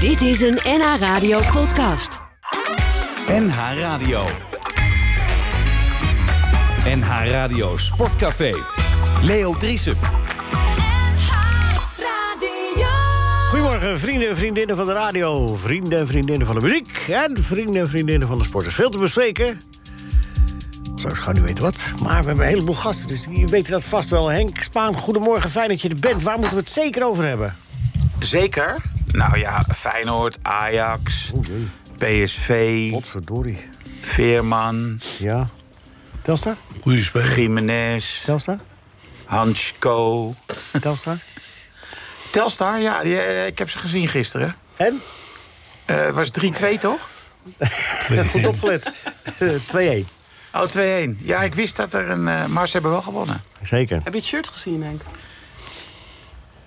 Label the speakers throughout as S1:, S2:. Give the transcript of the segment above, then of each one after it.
S1: Dit is een NH Radio podcast.
S2: NH Radio. NH Radio Sportcafé. Leo Driesen.
S3: Goedemorgen, vrienden en vriendinnen van de radio, vrienden en vriendinnen van de muziek en vrienden en vriendinnen van de sport. Er is veel te bespreken. Zou ik gewoon niet weten wat. Maar we hebben een heleboel gasten, dus je weet dat vast wel. Henk Spaan, goedemorgen, fijn dat je er bent. Waar moeten we het zeker over hebben?
S4: Zeker. Nou ja, Feyenoord, Ajax, PSV,
S3: Potverdorie.
S4: Veerman,
S3: Ja. Telstar?
S5: Goeie speler.
S4: Jiménez,
S3: Telstar?
S4: Hansko.
S3: Telstar?
S4: Telstar, ja, die, eh, ik heb ze gezien gisteren.
S3: En?
S4: Eh was 3-2 toch?
S3: Goed opgelet. Eh, 2-1.
S4: Oh, 2-1. Ja, ik wist dat er een. eh maar ze hebben wel gewonnen.
S3: Zeker.
S6: Heb je het shirt gezien, Henk?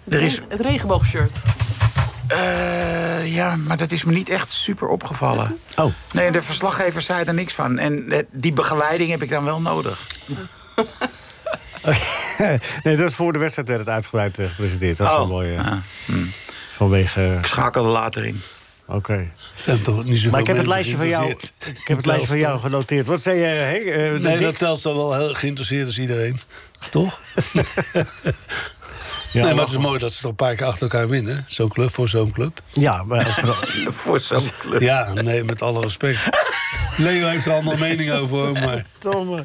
S4: Er is.
S6: Het regenboogshirt.
S4: eh, ja, maar dat is me niet echt super opgevallen.
S3: Oh,
S4: Nee, de verslaggever zei er niks van. En eh, die begeleiding heb ik dan wel nodig.
S3: nee, dat was voor de wedstrijd werd het uitgebreid eh, gepresenteerd. Dat was wel
S4: Oh.
S3: mooi. eh,
S4: Ah,
S3: Vanwege...
S4: Ik schakelde later in.
S3: Oké.
S5: Er Zijn toch niet zoveel
S3: Maar ik heb het
S5: mensen
S3: lijstje van jou,
S5: geïnteresseerd.
S3: ik heb het lijstje van jou genoteerd. Wat zei je? Henk? Eh, de
S5: Nee,
S3: dik-
S5: dat telt dan wel heel geïnteresseerd is iedereen. Toch?
S3: ja,
S5: nee, maar
S3: maar-
S5: het is mooi dat ze toch een paar keer achter elkaar winnen. Zo'n club voor zo'n club.
S3: ja, maar vooral-
S4: Voor zo'n club.
S5: Ja, nee, met alle respect. Leo heeft er allemaal mening over, hoor, maar...
S3: Tom, eh,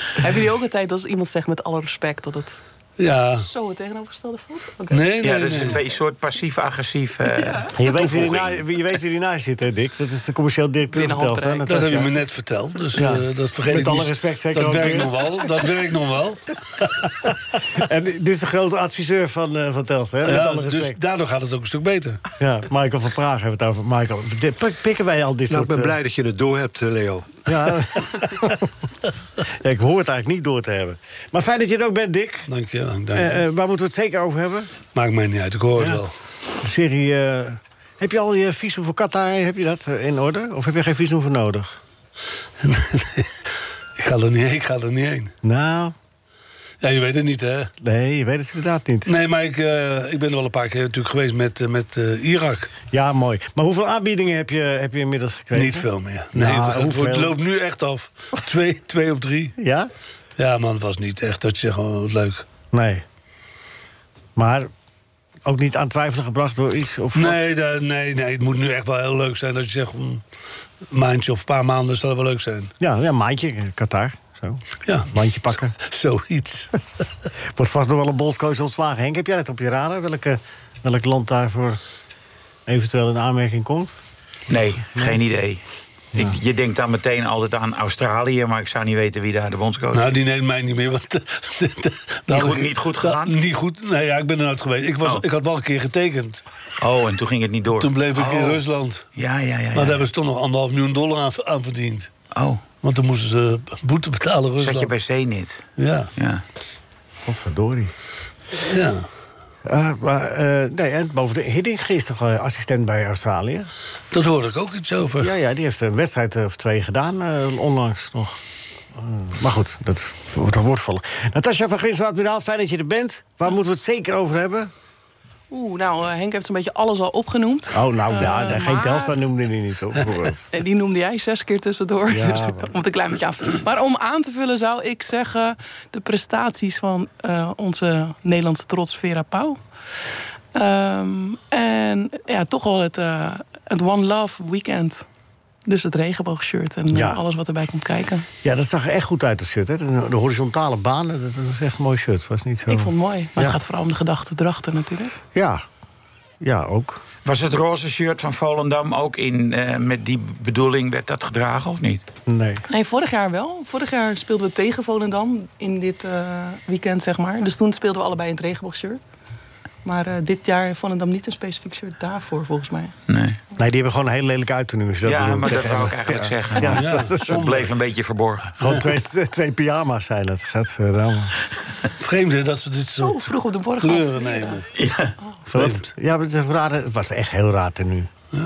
S6: Hebben jullie ook een tijd als iemand zegt met alle respect dat het
S5: Ja,
S6: zo het tegenovergestelde voelt? Oké.
S5: nee, nee,
S4: Ja, dat is
S5: nee.
S4: een beetje een soort passief-agressief. eh,
S3: je, weet wie
S4: toevoeging.
S3: erna- wie- je weet wie ernaast zit, hè, Dick? Dat is de commercieel directeur
S6: Binnen
S3: van Telstar.
S6: handbereik.
S5: Dat heb je
S3: Natasja.
S5: me net verteld, dus
S3: Ja.
S5: eh, dat vergeet
S3: Met
S5: ik niet.
S3: alle respect zeker
S5: Dat
S3: ook
S5: werkt
S3: weer.
S5: nog wel, dat werkt nog wel.
S3: En dit is de grote adviseur van, eh van Telstar, hè? Met
S5: Ja,
S3: alle
S5: dus
S3: respect.
S5: daardoor gaat het ook een stuk beter.
S3: Ja, Michael van Praag hebben we het over. Michael, dit- pik- pikken wij al dit
S7: Nou, ik
S3: soort...
S7: ben
S3: eh,
S7: blij dat je het door hebt, eh, Leo.
S3: ja. Ja, ik hoor het eigenlijk niet door te hebben. Maar fijn dat je er ook bent, Dick.
S5: Dank je, dank je.
S3: Eh, eh, waar moeten we het zeker over hebben?
S5: Maakt mij niet uit, ik hoor
S3: Ja.
S5: het wel.
S3: De serie. eh, heb je al je visum voor Qatar? Heb je dat eh, in orde? Of heb je geen visum voor nodig?
S5: Ik ga er niet, ik ga er niet heen.
S3: Nou,
S5: Ja, je weet het niet, hè?
S3: nee, je weet het inderdaad niet.
S5: Nee, maar ik, eh, ik ben er wel een paar keer natuurlijk geweest met, eh, met eh, Irak.
S3: Ja, mooi. Maar hoeveel aanbiedingen heb je, heb je inmiddels gekregen?
S5: Niet veel meer. Nee,
S3: Nou,
S5: het, het
S3: hoeveel?
S5: wordt- loopt nu echt af. twee, twee of drie.
S3: Ja?
S5: Ja, man, het was niet echt dat je zegt, oh, wat leuk.
S3: Nee. Maar ook niet aan twijfelen gebracht door iets? Of wat?
S5: Nee, da- nee, nee, het moet nu echt wel heel leuk zijn dat je zegt... mm, een maandje of een paar maanden zal wel leuk zijn.
S3: Ja, ja, maandje, eh, Qatar. Zo.
S5: Ja,
S3: Mandje pakken.
S5: zoiets.
S3: Wordt vast nog wel een bondscoach ontslagen. Henk, heb jij dat op je radar? Welke, welk land daarvoor eventueel in aanmerking komt?
S4: Nee, geen idee. Ik, je denkt dan meteen altijd aan Australië, maar ik zou niet weten wie daar de bondscoach is.
S5: Nou, die neemt mij niet meer. Want,
S4: Niet
S5: dat
S4: goed- niet goed gegaan?
S5: niet goed. Nee, ja, ik ben er nooit geweest. Ik, was,
S4: Oh.
S5: ik had wel een keer getekend.
S4: Oh, en toen ging het niet door.
S5: Toen bleef ik in
S4: Oh.
S5: Rusland.
S4: Ja, ja, ja.
S5: Maar daar
S4: ja.
S5: hebben ze toch nog anderhalf miljoen dollar aan, aan verdiend.
S4: Oh,
S5: Want dan moesten ze boete betalen
S4: zat je
S5: Rusland.
S4: bij Zenit.
S5: Ja,
S4: Ja.
S3: Godverdorie.
S5: ja.
S3: Eh, maar, eh, nee, en bovendien, Hiddink is toch eh, assistent bij Australië?
S5: Dat hoorde ik ook iets over.
S3: Ja, ja, die heeft een wedstrijd eh, of twee gedaan eh, onlangs nog. Eh, maar goed, dat wordt een woordvallen. Natasja van Grinswaard, Miraal, fijn dat je er bent. Waar moeten we het zeker over hebben?
S6: Oeh, nou, eh, Henk heeft een beetje alles al opgenoemd.
S3: Oh, nou ja,
S6: Eh,
S3: geen
S6: maar-
S3: Telstra noemde die niet, hoor, bijvoorbeeld.
S6: Nee, die noemde jij zes keer tussendoor.
S3: Ja,
S6: dus,
S3: maar-
S6: om het een klein beetje af te Maar om aan te vullen zou ik zeggen... de prestaties van eh, onze Nederlandse trots Vera Pauw. Ehm, en ja, toch wel het, eh, het One Love Weekend. Dus het regenboogshirt en eh,
S3: Ja.
S6: alles wat erbij komt kijken.
S3: Ja, dat zag er echt goed uit, dat shirt. Hè? De, de horizontale banen, dat was echt een mooi shirt. Was niet zo...
S6: Ik vond het mooi. Maar
S3: Ja.
S6: het gaat vooral om de gedachten erachter natuurlijk.
S3: Ja, ja ook.
S4: Was het roze shirt van Volendam ook in, eh, met die bedoeling werd dat gedragen of niet?
S3: Nee.
S6: Nee, vorig jaar wel. Vorig jaar speelden we tegen Volendam in dit eh, weekend, zeg maar. Dus toen speelden we allebei in het regenboogshirt. Maar eh, dit jaar heeft Volendam niet een specifiek shirt daarvoor, volgens mij.
S4: Nee.
S3: nee, die hebben gewoon een hele lelijke uittenu. als je dat
S4: Ja,
S3: bedoelt.
S4: maar dat wou ik eigenlijk zeggen.
S3: Ja,
S4: maar
S5: Ja,
S4: Het
S5: zonde.
S4: bleef een beetje verborgen.
S3: Gewoon twee, twee, twee pyjama's zijn dat. Gaat eh,
S5: Vreemd hè, dat ze dit
S6: Zo
S5: soort
S6: vroeg op de borg
S5: kleuren nemen. Vreemd.
S3: Ja, maar het, is een raar, het was echt heel raar tenue.
S5: Ze,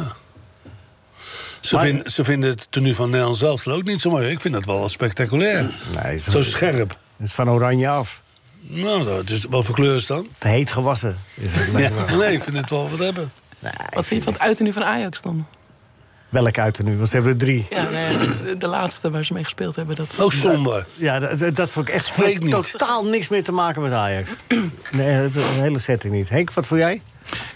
S3: Maar-
S5: vinden ze vinden het tenue van Nederland zelf ook niet zo mooi. Ik vind dat wel spectaculair.
S3: Nee,
S5: Zo scherp.
S3: Het is van oranje af.
S5: Nou, dat is, wat voor kleur is het dan?
S3: Te heet gewassen. Is het
S5: Ja. Nee, ik vind het wel wat hebben.
S3: Nou, ik
S6: Wat vind je van het uiten nu van Ajax dan?
S3: Welk uit er nu? Want ze hebben er drie.
S6: Ja, nou ja, de- de laatste waar ze mee gespeeld hebben. Dat...
S5: Ook somber.
S3: Ja, dat- dat, dat vond ik echt
S5: Spreekt niet.
S3: totaal niks meer te maken met Ajax. Nee, het- de hele setting niet. Henk, wat voor jij?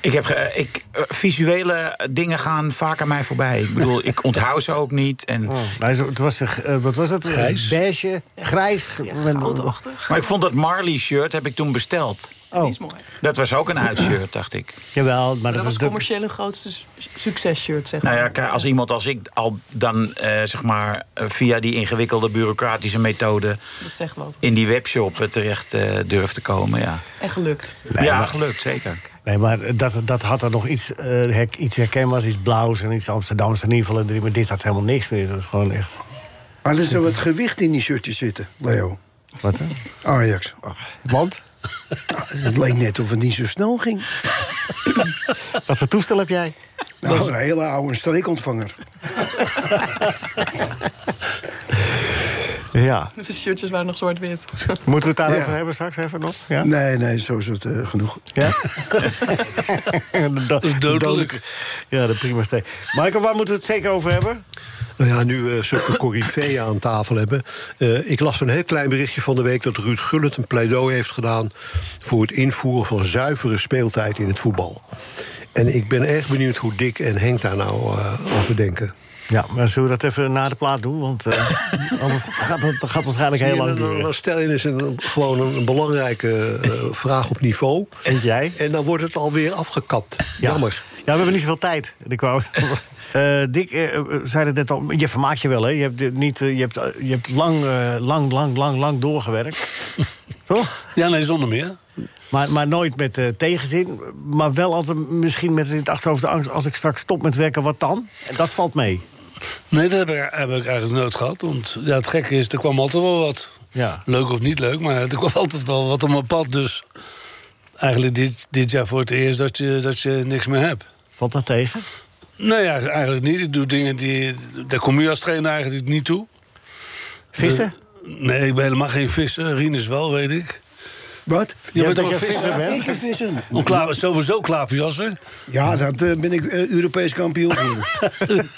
S8: Ik heb ge- ik, eh, visuele dingen gaan vaak aan mij voorbij. Ik bedoel, ik onthoud ze ook niet. En,
S3: Hij Oh, zo- Het was een, g- eh, wat was het?
S5: Grijs.
S3: Een Beige, grijs.
S6: Ja,
S3: Met-
S6: goudachtig.
S8: maar ik vond dat Marley-shirt heb ik toen besteld.
S6: Die
S3: oh,
S6: is mooi.
S8: Dat was ook een uitshirt, dacht ik.
S3: jawel.
S6: Maar
S3: Maar dat,
S6: dat was
S3: was
S6: commercieel een grootste su- successhirt, zeg maar.
S8: Nou ja, kijk, als iemand als ik al dan eh, zeg maar eh, via die ingewikkelde bureaucratische methode
S6: Dat zegt wat.
S8: in die webshop eh, terecht eh, durft te komen, ja.
S6: En gelukt.
S8: ja, gelukt, zeker.
S3: Nee, maar dat, dat had er nog iets, eh, her- iets herkenbaars, iets blauws en iets Amsterdams in ieder geval. een drie, Maar dit had helemaal niks meer. Dat was gewoon echt...
S9: Maar er zou wat gewicht in die shirtjes zitten, Leo.
S3: Wat hè? Oh,
S9: Ajax. Ah,
S3: Want?
S9: Het leek net of het niet zo snel ging.
S3: Wat voor toestel heb jij?
S9: Nou, een hele oude streekontvanger.
S3: Ja.
S6: De shirtjes waren nog zwart-wit.
S3: Moeten we het daarover
S9: Ja.
S3: hebben straks even nog? Ja?
S9: Nee, nee, zo is het eh, genoeg.
S3: Ja? De do- de Ja, de prima steek. Michael, waar moeten we het zeker over hebben?
S10: Nou ja, nu we zulke coryfeeën aan tafel hebben. Eh, ik las een heel klein berichtje van de week dat Ruud Gullit een pleidooi heeft gedaan. voor het invoeren van zuivere speeltijd in het voetbal. En ik ben erg benieuwd hoe Dick en Henk daar nou eh, over denken.
S3: Ja, maar zullen we dat even na de plaat doen? Want eh, anders gaat het gaat het waarschijnlijk heel
S10: Ja,
S3: lang
S10: dan- dan,
S3: duren.
S10: dan stel je eens een, gewoon een, een belangrijke eh, vraag op niveau.
S3: Vind jij?
S10: En dan wordt het alweer afgekapt.
S3: Ja.
S10: Jammer.
S3: Ja, we hebben niet zoveel tijd. Ik wou... Eh, Dick, eh, eh, zei het net al, je vermaakt je wel, hè? Je hebt, dit niet, eh, je hebt, eh, je hebt lang, eh, lang, lang, lang, lang doorgewerkt. Toch?
S5: Ja, nee, zonder meer.
S3: Maar, maar nooit met eh, tegenzin. Maar wel altijd misschien met in het achterhoofd de angst... als ik straks stop met werken, wat dan? En dat valt mee.
S5: Nee, dat heb ik, heb ik eigenlijk nooit gehad. Want ja, het gekke is, er kwam altijd wel wat.
S3: Ja.
S5: Leuk of niet leuk, maar er kwam altijd wel wat op mijn pad. Dus eigenlijk dit, dit jaar voor het eerst dat je, dat je niks meer hebt.
S3: Valt dat tegen?
S5: Nou ja, eigenlijk niet. Ik doe dingen die... Daar kom je als trainer eigenlijk niet toe. Eh,
S3: Vissen?
S5: Nee, ik ben helemaal geen visser. Rien is wel, weet ik.
S9: Wat?
S5: Je bent
S3: dat
S5: ook
S3: je
S5: een visser?
S3: visser bent?
S9: Ik een vissen.
S5: Onklaar, sowieso klaverjassen.
S9: Ja, dat eh, ben ik eh, Europees kampioen. geworden.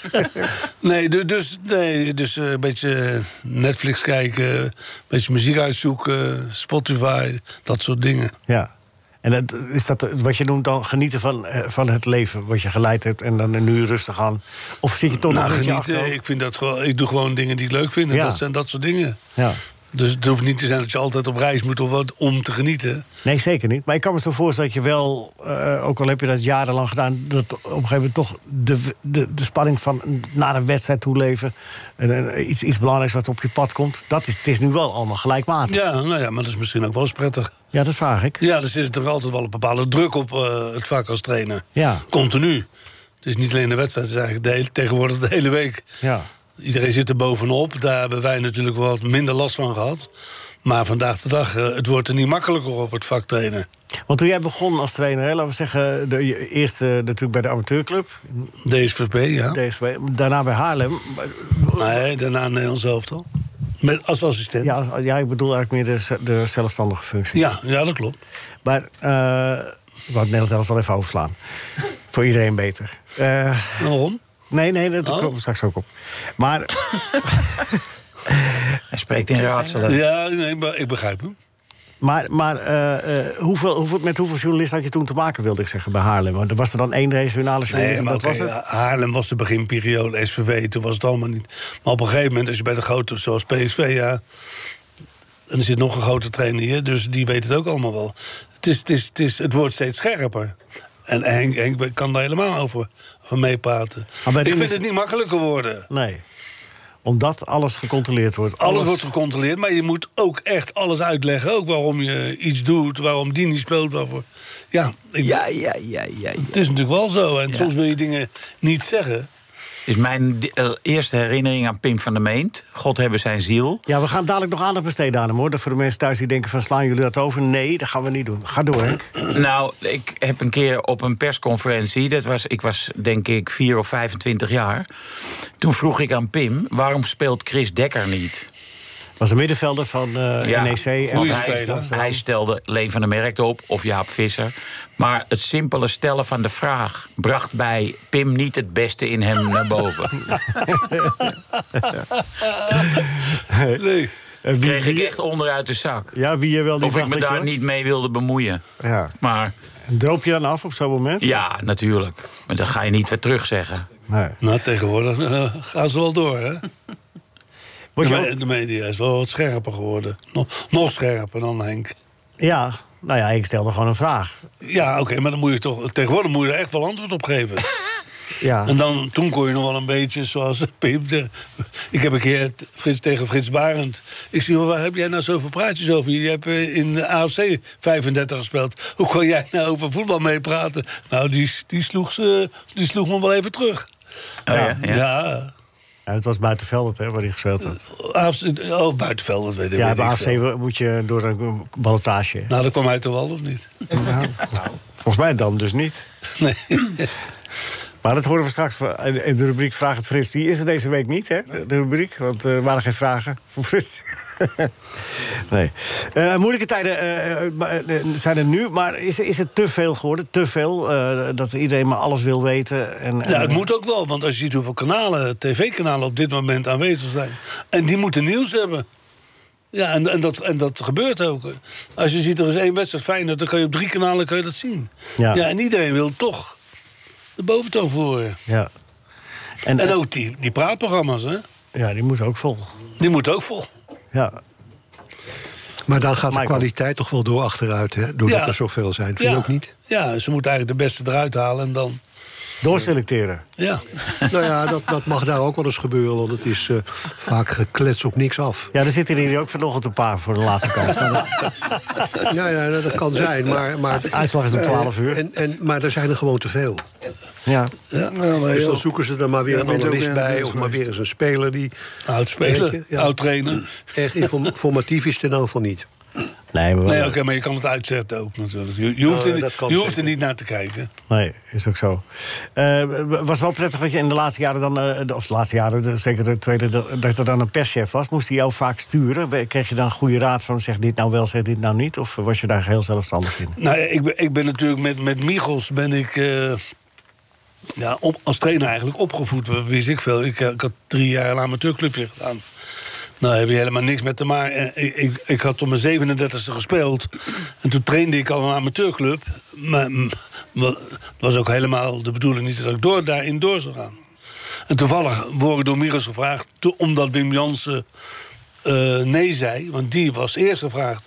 S5: Nee, du- dus, nee, dus eh, een beetje Netflix kijken, een beetje muziek uitzoeken, Spotify, dat soort dingen.
S3: Ja. En dat, is dat wat je noemt dan genieten van, eh, van het leven wat je geleid hebt... en dan een uur rustig aan? Of zit je toch
S5: Nou,
S3: nog een beetje
S5: genieten,
S3: achter?
S5: ik, vind dat gewoon, ik doe gewoon dingen die ik leuk vind. En
S3: Ja.
S5: Dat zijn dat soort dingen.
S3: Ja.
S5: Dus het hoeft niet te zijn dat je altijd op reis moet of wat om te genieten.
S3: Nee, zeker niet. Maar ik kan me zo voorstellen dat je wel, eh, ook al heb je dat jarenlang gedaan, dat op een gegeven moment toch de, de, de spanning van een- naar een wedstrijd toe leven. En, eh, iets, iets belangrijks wat op je pad komt. Dat is, het is nu wel allemaal gelijkmatig. Ja,
S5: Ja, nou ja, maar dat is misschien ook wel eens prettig.
S3: dat vraag Ah, ik.
S5: Ja, er zit toch altijd wel een bepaalde druk op eh, het vak als trainer.
S3: Ja.
S5: Continu. Het is niet alleen de wedstrijd, het is eigenlijk de hele- tegenwoordig de hele week.
S3: Ja.
S5: Iedereen zit er bovenop. Daar hebben wij natuurlijk wat minder last van gehad. Maar vandaag de dag, eh, het wordt er niet makkelijker op het vak trainen.
S3: Want toen jij begon als trainer, hè, laten we zeggen, de, je eerste eh, natuurlijk bij de amateurclub,
S5: DSVP, ja.
S3: DSW, daarna bij Haarlem.
S5: Nee, daarna Nederland zelf al. Met, als assistent.
S3: Ja,
S5: Ja.
S3: als- ja, ik bedoel eigenlijk meer de, ze- de zelfstandige functie.
S5: Ja, dat klopt.
S3: Maar eh ik wou het Nederlands zelfs wel even overslaan. Voor iedereen beter. Eh,
S5: En waarom?
S3: Nee, nee, dat
S5: Oh.
S3: komt er straks ook op. Maar
S8: Hij spreekt in raadselen.
S5: Ja, nee, maar ik begrijp hem.
S3: Maar, maar eh, eh, hoeveel, hoeveel, met hoeveel journalisten had je toen te maken, wilde ik zeggen, bij Haarlem? Want er was er dan één regionale journalist
S5: Nee,
S3: en
S5: maar
S3: dat
S5: oké,
S3: Dus was het?
S5: Haarlem was de beginperiode, SVV, toen was het allemaal niet. Maar op een gegeven moment, als je bij de grote, zoals PSV, ja... En er zit nog een grote trainer hier, dus die weet het ook allemaal wel. Het, is, het, is, het, is, het wordt steeds scherper. En Henk, Henk kan daar helemaal over van meepraten.
S3: Maar bij
S5: Ik
S3: Rinus-
S5: vind het niet makkelijker worden.
S3: Nee. Omdat alles gecontroleerd wordt.
S5: Alles wordt gecontroleerd, maar je moet ook echt alles uitleggen. Ook waarom je iets doet, waarom die niet speelt, waarvoor... Ja, ik-
S8: Ja, ja, ja, ja. ja.
S5: het is natuurlijk wel zo. En soms wil je dingen niet zeggen.
S8: Is mijn di- eh, eerste herinnering aan Pim van der Meent. God hebben zijn ziel.
S3: Ja, we gaan dadelijk nog aandacht besteden aan hem, hoor. Dat voor de mensen thuis die denken van, slaan jullie dat over? Nee, dat gaan we niet doen. Ga door, Henk.
S8: Nou, ik heb een keer op een persconferentie, dat was, ik was denk ik 4 of 25 jaar. Toen vroeg ik aan Pim: waarom speelt Chris Dekker niet?
S3: Was een middenvelder van eh,
S4: Ja,
S3: NEC. en
S4: want
S3: hij-
S4: hij,
S3: Amsterdam.
S4: hij stelde Leen van der Merkte op, of Jaap Visser. Maar het simpele stellen van de vraag bracht bij Pim niet het beste in hem naar boven.
S5: Nee.
S3: Eh, wie-
S4: Kreeg ik
S3: wie-
S4: echt onderuit de zak.
S3: Ja, wie je wel niet
S4: Of ik
S3: dacht
S4: me
S3: dat je
S4: daar
S3: was.
S4: niet mee wilde bemoeien.
S3: Ja.
S4: Maar
S3: En Droop je dan af op zo'n moment?
S4: ja, natuurlijk. Maar dat ga je niet weer terugzeggen.
S3: Nee.
S5: Nou, tegenwoordig eh, gaan ze wel door, hè?
S3: Word je
S5: de,
S3: ook-
S5: me- de media is wel wat scherper geworden. Nog, nog scherper dan Henk.
S3: Ja, nou ja, ik stelde gewoon een vraag.
S5: Ja, oké, maar dan moet je toch, tegenwoordig moet je er echt wel antwoord op geven.
S3: Ja.
S5: En dan, toen kon je nog wel een beetje zoals Pim. zegt. Ik heb een keer t- Frits, tegen Frits Barend. Ik zie, waar heb jij nou zoveel praatjes over? Je hebt eh, in de AFC 35 gespeeld. Hoe kon jij nou over voetbal meepraten? Nou, die, s- die, sloeg ze, die sloeg me wel even terug.
S8: Oh ja, ja.
S5: Oh ja.
S3: Ja, het was buitenveld, hè, waar hij gespeeld had.
S5: AFC oh, buitenveld, dat weet ik
S3: Ja,
S5: weet
S3: bij
S5: ik veel.
S3: AFC moet je door een ballotage.
S5: Nou, dat kwam hij toch wel, of niet?
S3: Nou, volgens mij dan dus niet.
S5: Nee.
S3: Maar dat horen we straks in in de rubriek Vraag het Frits. Die is er deze week niet, hè? De de rubriek, want eh, er waren geen vragen voor Frits. nee. Eh, moeilijke tijden eh, eh, ba- eh, zijn er nu, maar is, is het te veel geworden? Te veel, eh, dat iedereen maar alles wil weten. En,
S5: Ja,
S3: en-
S5: Nou, het moet ook wel, want als je ziet hoeveel kanalen, tv-kanalen op dit moment aanwezig zijn. En die moeten nieuws hebben. Ja, en, en, dat, en dat gebeurt ook. Als je ziet, er is één wedstrijd Feyenoord, dan kan je op drie kanalen kan je dat zien.
S3: Ja.
S5: Ja, en iedereen wil toch de boventoon voeren.
S3: Ja. En,
S5: En ook die, die praatprogramma's, hè?
S3: ja, die moet ook vol.
S5: die moeten ook vol.
S3: Ja.
S10: Maar dan gaat
S3: Michael.
S10: de kwaliteit toch wel door achteruit, hè? doordat
S5: Ja.
S10: er zoveel zijn. Vind
S5: ja.
S10: je ook niet?
S5: Ja, ze moeten eigenlijk de beste eruit halen en dan...
S3: Doorselecteren.
S5: Ja,
S10: nou ja, dat, dat mag daar ook wel eens gebeuren, want het is eh, vaak geklets op niks af.
S3: Ja, er zitten hier ook vanochtend een paar voor de laatste kans. Maar dat-
S10: Ja, ja dat kan zijn, maar... maar
S3: De uitslag is om 12 uur.
S10: En, en, maar er zijn er gewoon te veel.
S3: ja.
S5: ja.
S10: Dus dan zoeken ze er maar weer
S9: nou, Ja,
S10: een
S9: bent ook
S10: analist
S9: weer
S10: bij...
S9: bezig
S10: of maar weer
S9: geweest.
S10: eens een speler die
S5: oud
S10: Weet
S5: spelen,
S10: je, ja.
S5: oud trainen.
S10: echt inform- informatief is nou ten dan van niet.
S3: Nee, maar wel-
S5: Nee, oké, maar je kan het uitzetten ook natuurlijk. Je, je hoeft,
S10: Eh,
S5: er,
S10: dat
S5: niet-
S10: kan
S5: je hoeft er
S10: zeker.
S5: niet naar te kijken.
S3: Nee, is ook zo. Eh, was wel prettig dat je in de laatste jaren dan, eh, de- of de laatste jaren, de- zeker de tweede, dat dat er dan een perschef was. Moest hij jou vaak sturen? We- Kreeg je dan goede raad van zeg dit nou wel, zeg dit nou niet? Of was je daar heel zelfstandig in?
S5: Nou, ja, ik ben, ik ben natuurlijk met, met Michels ben ik. eh, ja, op, als trainer eigenlijk opgevoed, w- wist ik veel. Ik, eh, ik had drie jaar een amateurclubje gedaan. Nou, daar heb je helemaal niks met te maken. Eh, Ik, ik, ik had op mijn 37e gespeeld. En toen trainde ik al een amateurclub. Maar mm, wel, het was ook helemaal de bedoeling niet dat ik door, daarin door zou gaan. En toevallig word ik door Michels gevraagd, to- omdat Wim Jansen eh, nee zei. Want die was eerst gevraagd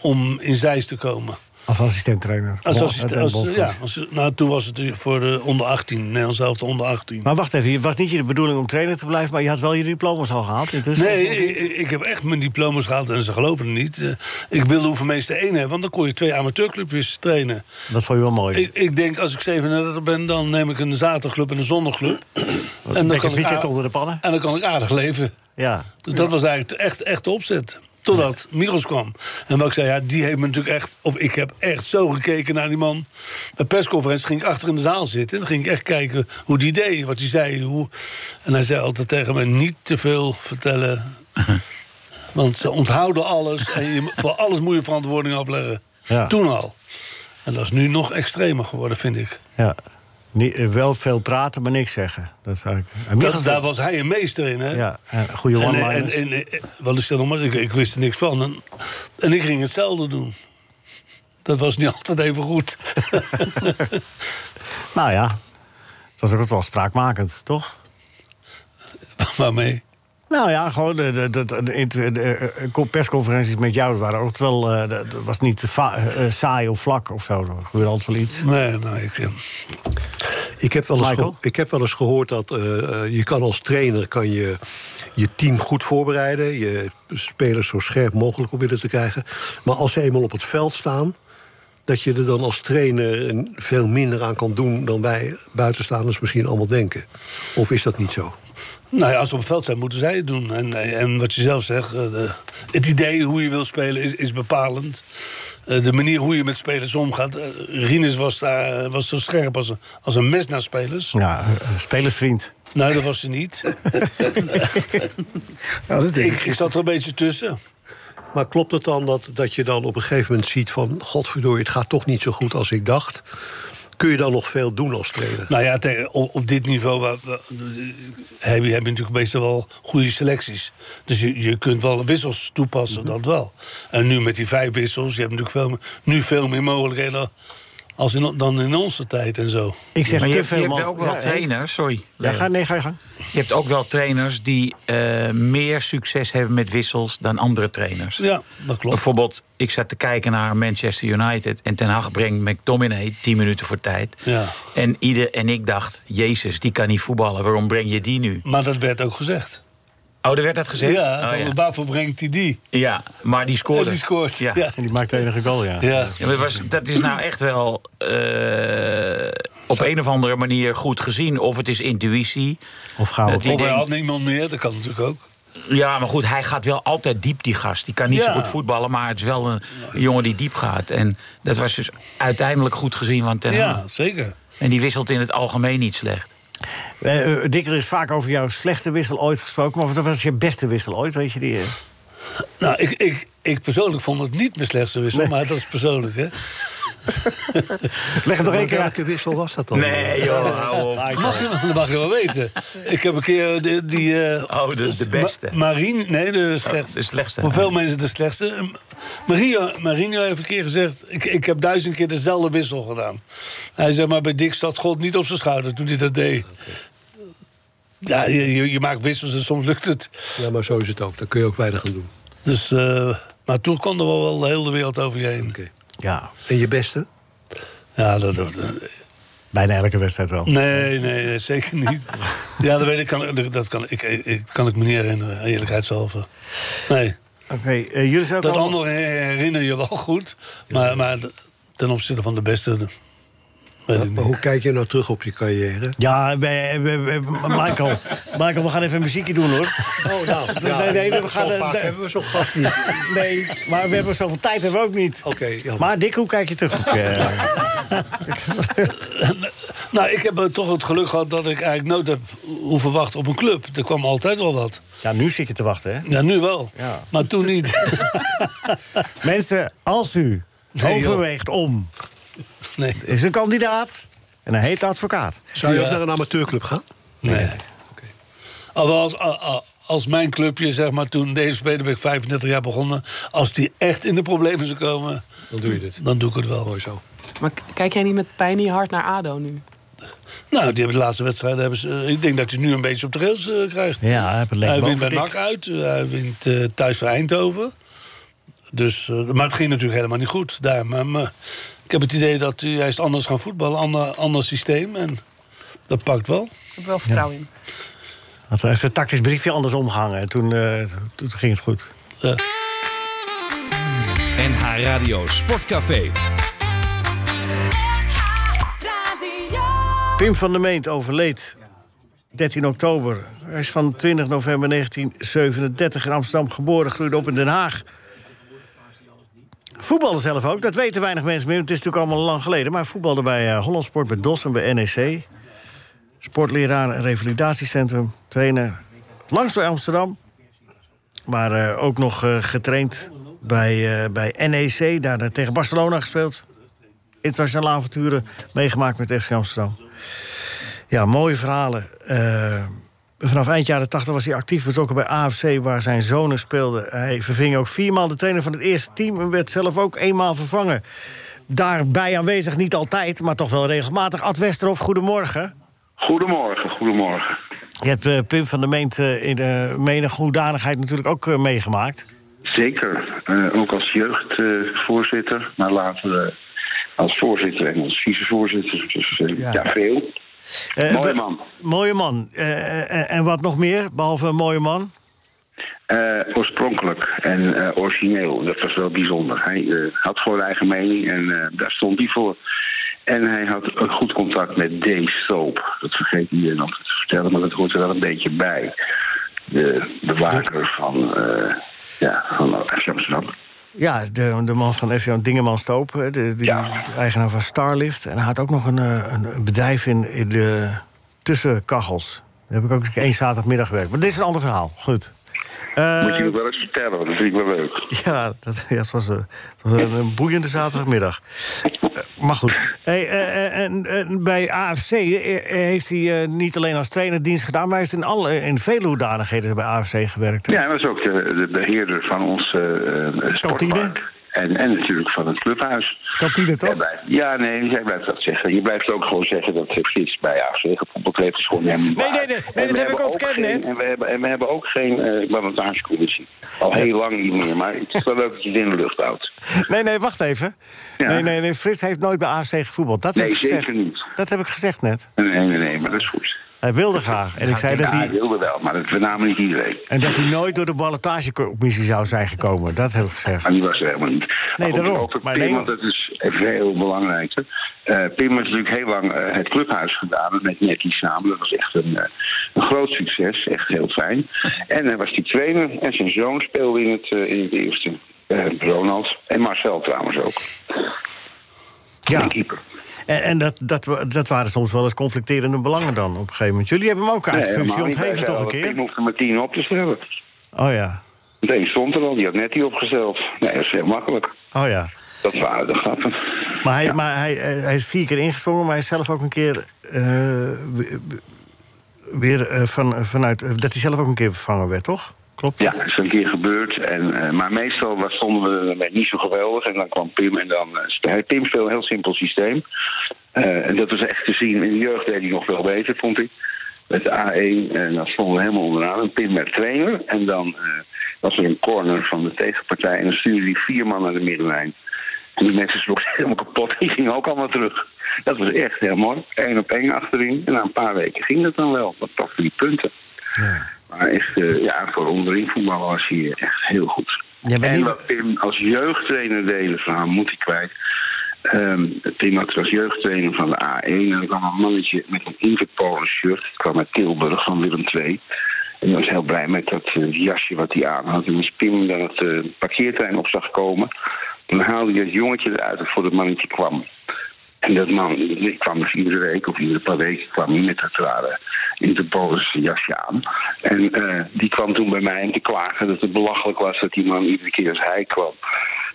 S5: om in Zeist te komen.
S3: Als assistenttrainer.
S5: Als
S3: Bon-
S5: assistent-
S3: eh,
S5: als-
S3: bondscoach.
S5: ja, als- nou, toen was het voor de onder 18, Nederlands zelf de onder 18.
S3: Maar wacht even, het was niet je bedoeling om trainer te blijven, maar je had wel je diploma's al gehaald intussen?
S5: Nee, ik, ik heb echt mijn diploma's gehaald en ze geloven het niet. Eh, Ik wilde hoeveelmeester één hebben, want dan kon je twee amateurclubjes trainen.
S3: Dat vond je wel mooi.
S5: Ik, ik denk, als ik 37 ben, dan neem ik een zaterdagclub en een zondagclub. En
S3: Lekker
S5: ik
S3: weekend
S5: aard-
S3: onder de pannen.
S5: En dan kan ik aardig leven.
S3: Ja.
S5: Dus dat was eigenlijk echt, echt de opzet. Totdat Miros kwam. En wat ik zei, ja, die heeft me natuurlijk echt... Of ik heb echt zo gekeken naar die man. Bij persconferentie ging ik achter in de zaal zitten. En dan ging ik echt kijken hoe die deed, wat hij zei. Hoe... En hij zei altijd tegen me, niet te veel vertellen. Want ze onthouden alles. En je, voor alles moet je verantwoording afleggen.
S3: Ja.
S5: Toen al. En dat is nu nog extremer geworden, vind ik.
S3: ja. Niet, eh, wel veel praten, maar niks zeggen. Dat is eigenlijk... En
S5: Dat,
S3: Michels-
S5: daar was hij een meester in, hè?
S3: Ja, en goede
S5: En,
S3: one
S5: en, en, en- wat is dat nog maar? Ik, ik wist er niks van. En, en ik ging hetzelfde doen. Dat was niet altijd even goed.
S3: Nou ja, het was ook wel spraakmakend, toch?
S5: Waarmee?
S3: Nou ja, gewoon de, de, de, de, de- de- de persconferenties met jou waren ook wel. eh, dat dat was niet va- eh, saai of vlak of zo. Er gebeurde altijd wel iets.
S5: Nee, nou, ik, eh,
S10: Ik heb wel eens,
S3: Michael?
S10: geho- ik heb wel eens gehoord dat eh, eh, je kan als trainer kan je, je team goed voorbereiden. Je spelers zo scherp mogelijk proberen te krijgen. Maar als ze eenmaal op het veld staan... dat je er dan als trainer een- veel minder aan kan doen... dan wij buitenstaanders misschien allemaal denken. Of is dat niet zo?
S5: nou ja, als ze op het veld zijn, moeten zij het doen. En, eh, en wat je zelf zegt, eh, de- het idee hoe je wil spelen is, is bepalend. Eh, de manier hoe je met spelers omgaat. eh, Rinus was, daar, eh, was zo scherp als een, als een mes naar spelers.
S3: Ja, eh, spelersvriend.
S5: Nou, dat was ze niet. ik, ik zat er een beetje tussen.
S10: Maar klopt het dan dat, dat je dan op een gegeven moment ziet van... godverdorie, het gaat toch niet zo goed als ik dacht? Kun je dan nog veel doen als trainer?
S5: Nou ja, te- op, op dit niveau waar, waar- heb, je, heb je natuurlijk meestal wel goede selecties. Dus je, je kunt wel wissels toepassen,
S3: Mhm.
S5: dat wel. En nu met die vijf wissels, je hebt natuurlijk veel, meer- nu veel meer mogelijkheden als in, dan in onze tijd en zo.
S3: Ik zeg
S8: Maar je,
S3: te
S8: hebt- je
S3: veel
S8: hebt
S3: man-
S8: ook wel
S3: Ja,
S8: trainers, sorry.
S3: Ja,
S8: Leo.
S3: ga, nee, ga je gang.
S8: Je hebt ook wel trainers die eh, meer succes hebben met wissels dan andere trainers.
S5: Ja, dat klopt.
S8: Bijvoorbeeld, ik zat te kijken naar Manchester United en Ten Hag brengt McTominay 10 minuten voor tijd.
S5: Ja.
S8: En, ieder, en ik dacht, Jezus, die kan niet voetballen, waarom breng je die nu?
S5: Maar dat werd ook gezegd.
S8: Oh, er werd dat gezegd?
S5: Ja,
S8: Oh,
S5: van,
S8: ja.
S5: waarvoor brengt hij die?
S8: Ja, maar die scoorde.
S5: Ja, die scoort.
S8: Ja.
S5: Ja.
S3: En die maakt de enige goal, ja.
S5: Ja.
S8: Ja, maar het was, dat is nou echt wel eh, op een of andere manier goed gezien. Of het is intuïtie.
S3: Of gauw.
S8: Dat die
S5: Of hij
S8: denkt-
S5: had niemand meer, dat kan natuurlijk ook.
S8: Ja, maar goed, hij gaat wel altijd diep, die gast. Die kan niet
S5: Ja.
S8: zo goed voetballen, maar het is wel een jongen die diep gaat. En dat was dus uiteindelijk goed gezien van Ten Hag.
S5: Ja, zeker.
S8: En die wisselt in het algemeen niet slecht.
S3: Eh, eh, Dick, er is vaak over jouw slechtste wissel ooit gesproken. Maar wat was je beste wissel ooit, weet je die? eh?
S5: Nou, ik, ik, ik persoonlijk vond het niet mijn slechtste wissel, maar dat is persoonlijk, hè?
S3: Leg het nog één keer uit.
S10: Welke wissel was dat dan?
S8: joh, hou op.
S5: Mag je, dat mag je wel weten. Ik heb een keer eh, die... die eh,
S8: Oh, de- de beste. Oh,
S5: Ma- Marine, nee, de slechtste.
S8: de slechtste.
S5: Voor veel mensen de slechtste. Marino, Marino heeft een keer gezegd... Ik, ik heb duizend keer dezelfde wissel gedaan. Hij zei, maar bij Dick zat God niet op zijn schouder toen hij dat deed. Ja, je, je, je maakt wissels en soms lukt het.
S10: Ja, maar zo is het ook. Daar kun je ook weinig aan doen.
S5: Dus, eh, maar toen kwam er wel, wel heel de wereld over je heen.
S10: Oké.
S3: Ja,
S10: En je beste?
S5: Ja, dat, dat-
S3: bijna elke wedstrijd wel.
S5: nee, nee, nee, zeker niet. Ja, dat, weet ik, kan, dat kan, ik, ik, kan ik me niet herinneren, eerlijkheidshalve. Nee.
S3: Oké, eh, jullie zijn ook
S5: Dat
S3: al-
S5: andere herinner je wel goed. Maar, maar ten opzichte van de beste. de- Weet ik
S10: Maar
S5: niet.
S10: hoe kijk je nou terug op je carrière?
S3: Ja, eh, eh, eh, eh, Michael. Michael, we gaan even een muziekje doen, hoor.
S10: Oh, nou,
S3: Nee, nee, nee, we gaan...
S10: zo
S3: eh,
S10: vaak
S3: nee.
S10: hebben we zo'n gast niet.
S3: Nee, maar we hebben zoveel tijd hebben we ook niet.
S10: Oké, jammer.
S3: Maar Dick, hoe kijk je terug op je...
S5: Nou, ik heb eh, toch het geluk gehad dat ik eigenlijk nooit heb hoeven wachten op een club. Er kwam altijd wel wat.
S3: Ja, nu zit je te wachten, hè?
S5: Ja, nu wel.
S3: Ja.
S5: Maar toen niet.
S3: Mensen, als u
S5: Nee, joh.
S3: overweegt om...
S5: Nee.
S3: is een kandidaat en hij heet advocaat.
S10: Zou je
S5: Ja.
S10: ook naar een amateurclub gaan?
S5: Nee. Alhoewel, Ah, Als, a- a- als mijn clubje, zeg maar, toen DSB, daar ben ik 35 jaar begonnen. Als die echt in de problemen zou komen,
S10: Dan doe je dit.
S5: dan doe ik het wel.
S10: Mooi zo.
S6: Maar k- kijk jij niet met pijn in je hart naar ADO nu?
S5: Nou, die hebben de laatste wedstrijden. Hebben ze, eh, ik denk dat je nu een beetje op de rails eh, krijgt.
S3: Ja, hij heeft het lekker
S5: Hij wint bij
S3: boven
S5: NAC uit, eh, hij wint eh, thuis voor Eindhoven. Dus, eh, maar het ging natuurlijk helemaal niet goed daar. Maar, maar ik heb het idee dat hij hij is anders gaan voetballen, ander, ander systeem. En dat pakt wel.
S6: Ik heb wel vertrouwen in.
S3: Had er even een tactisch briefje anders omgehangen. En toen, eh, toen ging het goed.
S11: NH Radio Sportcafé.
S3: Pim van der Meent overleed 13 oktober. Hij is van 20 november 1937 in Amsterdam geboren, groeide op in Den Haag. Voetbalde zelf ook, dat weten weinig mensen meer. want Het is natuurlijk allemaal lang geleden. Maar hij voetbalde bij eh Holland Sport, bij DOS en bij E NEC. Sportleraar en revalidatiecentrum. Trainer langs bij Amsterdam. Maar eh, ook nog eh, getraind bij, eh, bij NEC. Daar eh, tegen Barcelona gespeeld. Internationale avonturen meegemaakt met FC Amsterdam. Ja, mooie verhalen. Eh, vanaf eind jaren 80 was hij actief betrokken bij AFC, waar zijn zonen speelden. Hij verving ook viermaal de trainer van het eerste team en werd zelf ook eenmaal vervangen. Daarbij aanwezig, niet altijd, maar toch wel regelmatig. Ad Westerhof, goedemorgen.
S12: Goedemorgen, goedemorgen.
S3: Je hebt eh, Pim van der Meent eh, in de menige hoedanigheid natuurlijk ook eh, meegemaakt.
S12: Zeker, eh, ook als jeugdvoorzitter, maar later eh, als voorzitter en als vicevoorzitter. Dus eh,
S3: Ja.
S12: ja. veel.
S3: Eh,
S12: Mooie
S3: be-
S12: man.
S3: Mooie man. Eh, eh, en wat nog meer, behalve een mooie man?
S12: Eh, oorspronkelijk en eh, origineel, dat was wel bijzonder. Hij eh, had gewoon eigen mening en eh, daar stond hij voor. En hij had een goed contact met D-Soap. Dat vergeet iedereen altijd te vertellen, maar dat hoort er wel een beetje bij. De bewaker van, eh ja, van FC Amsterdam.
S3: Ja, de, de man van F.J. Dingeman Stoop, hè, de, die,
S12: Ja.
S3: de eigenaar van Starlift. En hij had ook nog een, eh, een een bedrijf in, in de tussenkachels. Daar heb ik ook één zaterdagmiddag gewerkt. Maar dit is een ander verhaal. Goed. Eh,
S12: Moet je me wel eens vertellen, want dat vind ik wel leuk.
S3: ja, dat, ja, het was, eh, het was een, een boeiende zaterdagmiddag. Eh, maar goed. Hey, eh, eh, en, en bij AFC eh, heeft hij eh, niet alleen als trainer dienst gedaan... maar hij heeft in, alle, in vele hoedanigheden bij AFC gewerkt.
S12: Ja, en dat is ook de, de beheerder van ons eh, eh, sportpark. En, en natuurlijk van het clubhuis.
S3: Kantine, toch?
S12: Ja, nee, jij blijft dat zeggen. Je blijft ook gewoon zeggen dat het gids bij AFC gepompeld heeft. Dat is gewoon helemaal niet
S3: Nee,
S12: waar.
S3: nee, nee, nee,
S12: En
S3: dat
S12: we
S3: heb ik
S12: hebben ook
S3: ontkend
S12: geen-
S3: net.
S12: En we, hebben, en we hebben ook geen eh ballotagecommissie. Al heel lang niet meer, maar het is wel leuk dat je het in de lucht houdt.
S3: Nee, nee, wacht even.
S12: Ja.
S3: Nee, nee, nee, Frits heeft nooit bij AFC gevoetbald. Dat heb
S12: Nee,
S3: ik gezegd.
S12: zeker niet.
S3: Dat heb ik gezegd net.
S12: Nee, nee, nee, maar dat is goed.
S3: Hij wilde graag. En ik zei dat
S12: Ja,
S3: hij...
S12: wilde wel, maar dat vernamen niet iedereen.
S3: En dat hij nooit door de ballotagecommissie zou zijn gekomen. Dat heb ik gezegd.
S12: Maar Ah, die was er helemaal niet.
S3: Nee,
S12: goed,
S3: daarom.
S12: Over
S3: Maar
S12: Pim,
S3: nee,
S12: want dat is veel belangrijker. Eh, Pim heeft natuurlijk heel lang eh, het clubhuis gedaan met Nettie samen. Dat was echt een, eh, een groot succes, echt heel fijn. En hij was die trainer en zijn zoon speelde in het, eh, in het eerste. Eh, Ronald en Marcel trouwens ook.
S3: Ja.
S12: keeper.
S3: En, en dat, dat, wa- dat waren soms wel eens conflicterende belangen dan op een gegeven moment. Jullie hebben hem ook uit
S12: Nee,
S3: functie
S12: helemaal niet.
S3: ontheven,
S12: Wij
S3: toch een
S12: zeiden,
S3: keer?
S12: Pim hoefde maar tien op te stellen.
S3: Oh ja,
S12: Nee, stond er al, die had Nettie opgesteld. Nee, dat is heel makkelijk.
S3: oh ja.
S12: Dat waren de grappen.
S3: Maar hij, maar hij, eh, hij is vier keer ingesprongen, maar hij is zelf ook een keer... eh, we- we- weer eh, van, vanuit... eh, dat hij zelf ook een keer vervangen werd, toch? Klopt.
S12: Ja, dat is een keer gebeurd. En, eh, maar meestal was- stonden we met niet zo geweldig. En dan kwam Pim en dan... eh, hij- Pim speelde een heel simpel systeem. Eh, en dat was echt te zien. In de jeugd deed hij nog wel beter, vond ik. Met de A1, en dan stonden we helemaal onderaan. En Pim werd trainer. En dan eh, was er een corner van de tegenpartij. En dan stuurde hij vier man naar de middenlijn. En die mensen sloegen zich helemaal kapot. Die gingen ook allemaal terug. Dat was echt heel mooi. Eén op één achterin. En na een paar weken ging dat dan wel. Dat pakte die punten. Maar echt, eh, ja, voor onderin voetbal was hij echt heel goed.
S3: Ja, maar
S12: en
S3: die-
S12: wat Pim als jeugdtrainer deed, dat verhaal moet ik kwijt. Ehm Pim had als jeugdtrainer van de A1. En er kwam een mannetje met een Interpolen shirt. Dat kwam uit Tilburg van Willem II. En die was heel blij met dat eh, jasje wat hij aan had. En als Pim dan het eh, parkeerterrein op zag komen... dan haalde hij het jongetje eruit dat voor het mannetje kwam. En dat man die kwam dus iedere week of iedere paar weken kwam hij met dat rare Interpolis jasje aan. En eh, die kwam toen bij mij om te klagen dat het belachelijk was dat die man iedere keer als hij kwam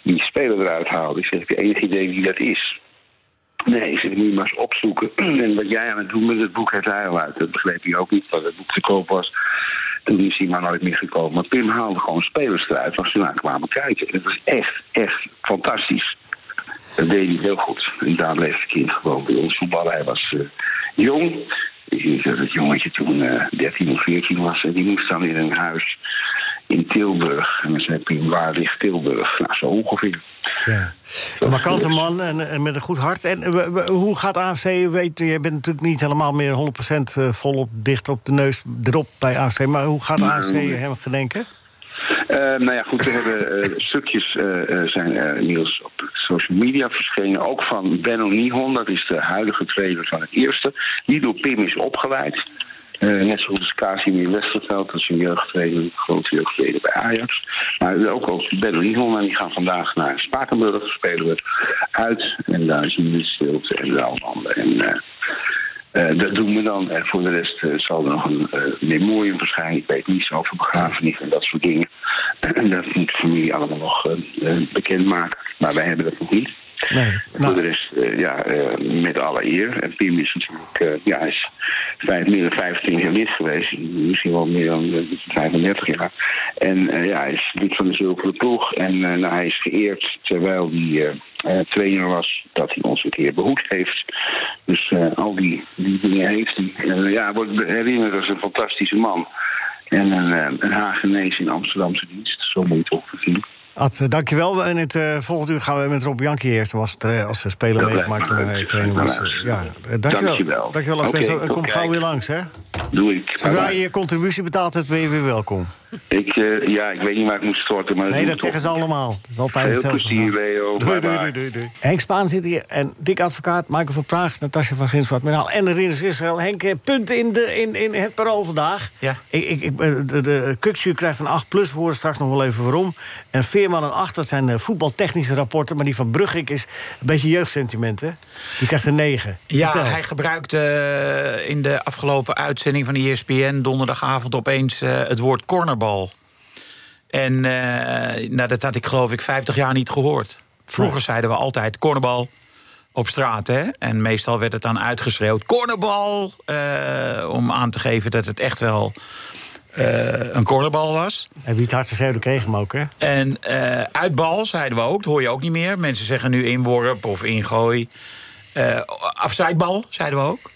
S12: die speler eruit haalde. Ik zeg, heb je enig idee wie dat is? Nee, ik zeg, moet je maar eens opzoeken. en wat jij aan het doen met het boek heeft hij al uit. Dat begreep hij ook niet, dat het boek te koop was. Toen is hij maar nooit meer gekomen. Maar Pim haalde gewoon spelers eruit als ze naar kwamen kijken. En Dat was echt, echt fantastisch. Dat deed hij heel goed. En daar bleef het kind gewoon bij ons voetballen. Hij was eh, jong. Ik denk dat het jongetje toen eh 13 of 14 was. En die moest dan in een huis in Tilburg. En dan zei Pim, waar ligt Tilburg? Nou, zo ongeveer.
S3: Ja. Een markante man en, en met een goed hart. En eh, we- we- hoe gaat AFC? Weet, je bent natuurlijk niet helemaal meer 100% eh, volop dicht op de neus erop bij AFC. Maar hoe gaat AFC
S12: Nee.
S3: hem gedenken?
S12: Eh, nou ja, goed, we hebben eh, stukjes eh, eh, zijn eh, inmiddels op social media verschenen. Ook van Benno Nihon, dat is de huidige trainer van het eerste. Die door Pim is opgeleid. Eh, net zoals Casimir Westerveld, dat is een jeugdtrainer, een grote jeugdtrainer bij Ajax. Maar ook al Benno Nihon, en die gaan vandaag naar Spakenburg, spelen we uit. En daar is een stilte en Raalanden. En eh, eh, dat doen we dan. En voor de rest eh, zal er nog een eh, memorium verschijnen. Ik weet niets over begrafenis en dat soort dingen. En dat moet de familie allemaal nog eh, eh, bekendmaken. Maar wij hebben dat nog niet.
S3: Nee.
S12: Voor
S3: Nou.
S12: de rest, eh, ja, eh, met alle eer. En Pim is natuurlijk, eh, ja, hij is vijf, meer dan 15 jaar lid geweest. Misschien wel meer dan eh, 35 jaar. En eh, ja, hij is lid van de Zilveren Ploeg. En eh, nou, hij is geëerd terwijl hij eh, eh, trainer was, dat hij ons een keer behoed heeft. Dus eh, al die, die dingen heeft hij. En, eh, ja, hij wordt herinnerd als een fantastische man. En een, eh, een Hagenees in Amsterdamse dienst, zo moet je het ongeveer zien.
S3: Ad, eh, dankjewel. En het eh, volgende uur gaan we met Rob Jankie eerst. Als, tra- als er speler
S12: Dat lijkt
S3: meegemaakt
S12: me
S3: en
S12: leuk.
S3: eh, trainer was. eh, Ja, Eh, dankjewel.
S12: Dankjewel.
S3: Dankjewel, Ad
S12: Oké,
S3: Westerlo.
S12: tot
S3: Kom gauw
S12: kijk.
S3: weer langs, hè?
S12: Doe ik.
S3: Zodra
S12: Bye-bye.
S3: je je contributie betaald hebt, ben je weer welkom.
S12: Ik, eh, ja, ik weet niet waar ik moet storten. Maar
S3: Nee,
S12: doe
S3: dat
S12: ik
S3: zeggen ze
S12: toch.
S3: allemaal. Dat is altijd
S12: Heel
S3: hetzelfde.
S12: plezier, Leo.
S3: Doei,
S12: Bye-bye.
S3: doei, doei, doei, doei. Henk Spaan zit hier en Dick Advocaat, Michael van Praag, Natasja van Grinswart, Menaal en Rinus Israël. Henk, eh, punten in, de, in, in het parool vandaag.
S8: Ja.
S3: Ik, ik, ik, eh, de, de Kuksu krijgt een 8 plus, we horen straks nog wel even waarom. En Veerman een 8, dat zijn eh, voetbaltechnische rapporten. Maar die van Brugge is een beetje jeugdsentiment, hè? Die krijgt een 9.
S4: Ja,
S3: Vertel.
S4: hij gebruikte eh, in de afgelopen uitzending van E de ESPN donderdagavond opeens eh, het woord cornerbal. En eh, nou, dat had ik geloof ik 50 jaar niet gehoord. Vroeger zeiden we altijd cornerbal op straat. Hè? En meestal werd het dan uitgeschreeuwd: cornerbal! eh, om aan te geven dat het echt wel eh, een cornerbal was.
S3: En wie het hardste schreeuwde kreeg hem ook, hè?
S4: En eh, uitbal zeiden we ook, dat hoor je ook niet meer. Mensen zeggen nu inworp of ingooi. Eh afzijdbal zeiden we ook.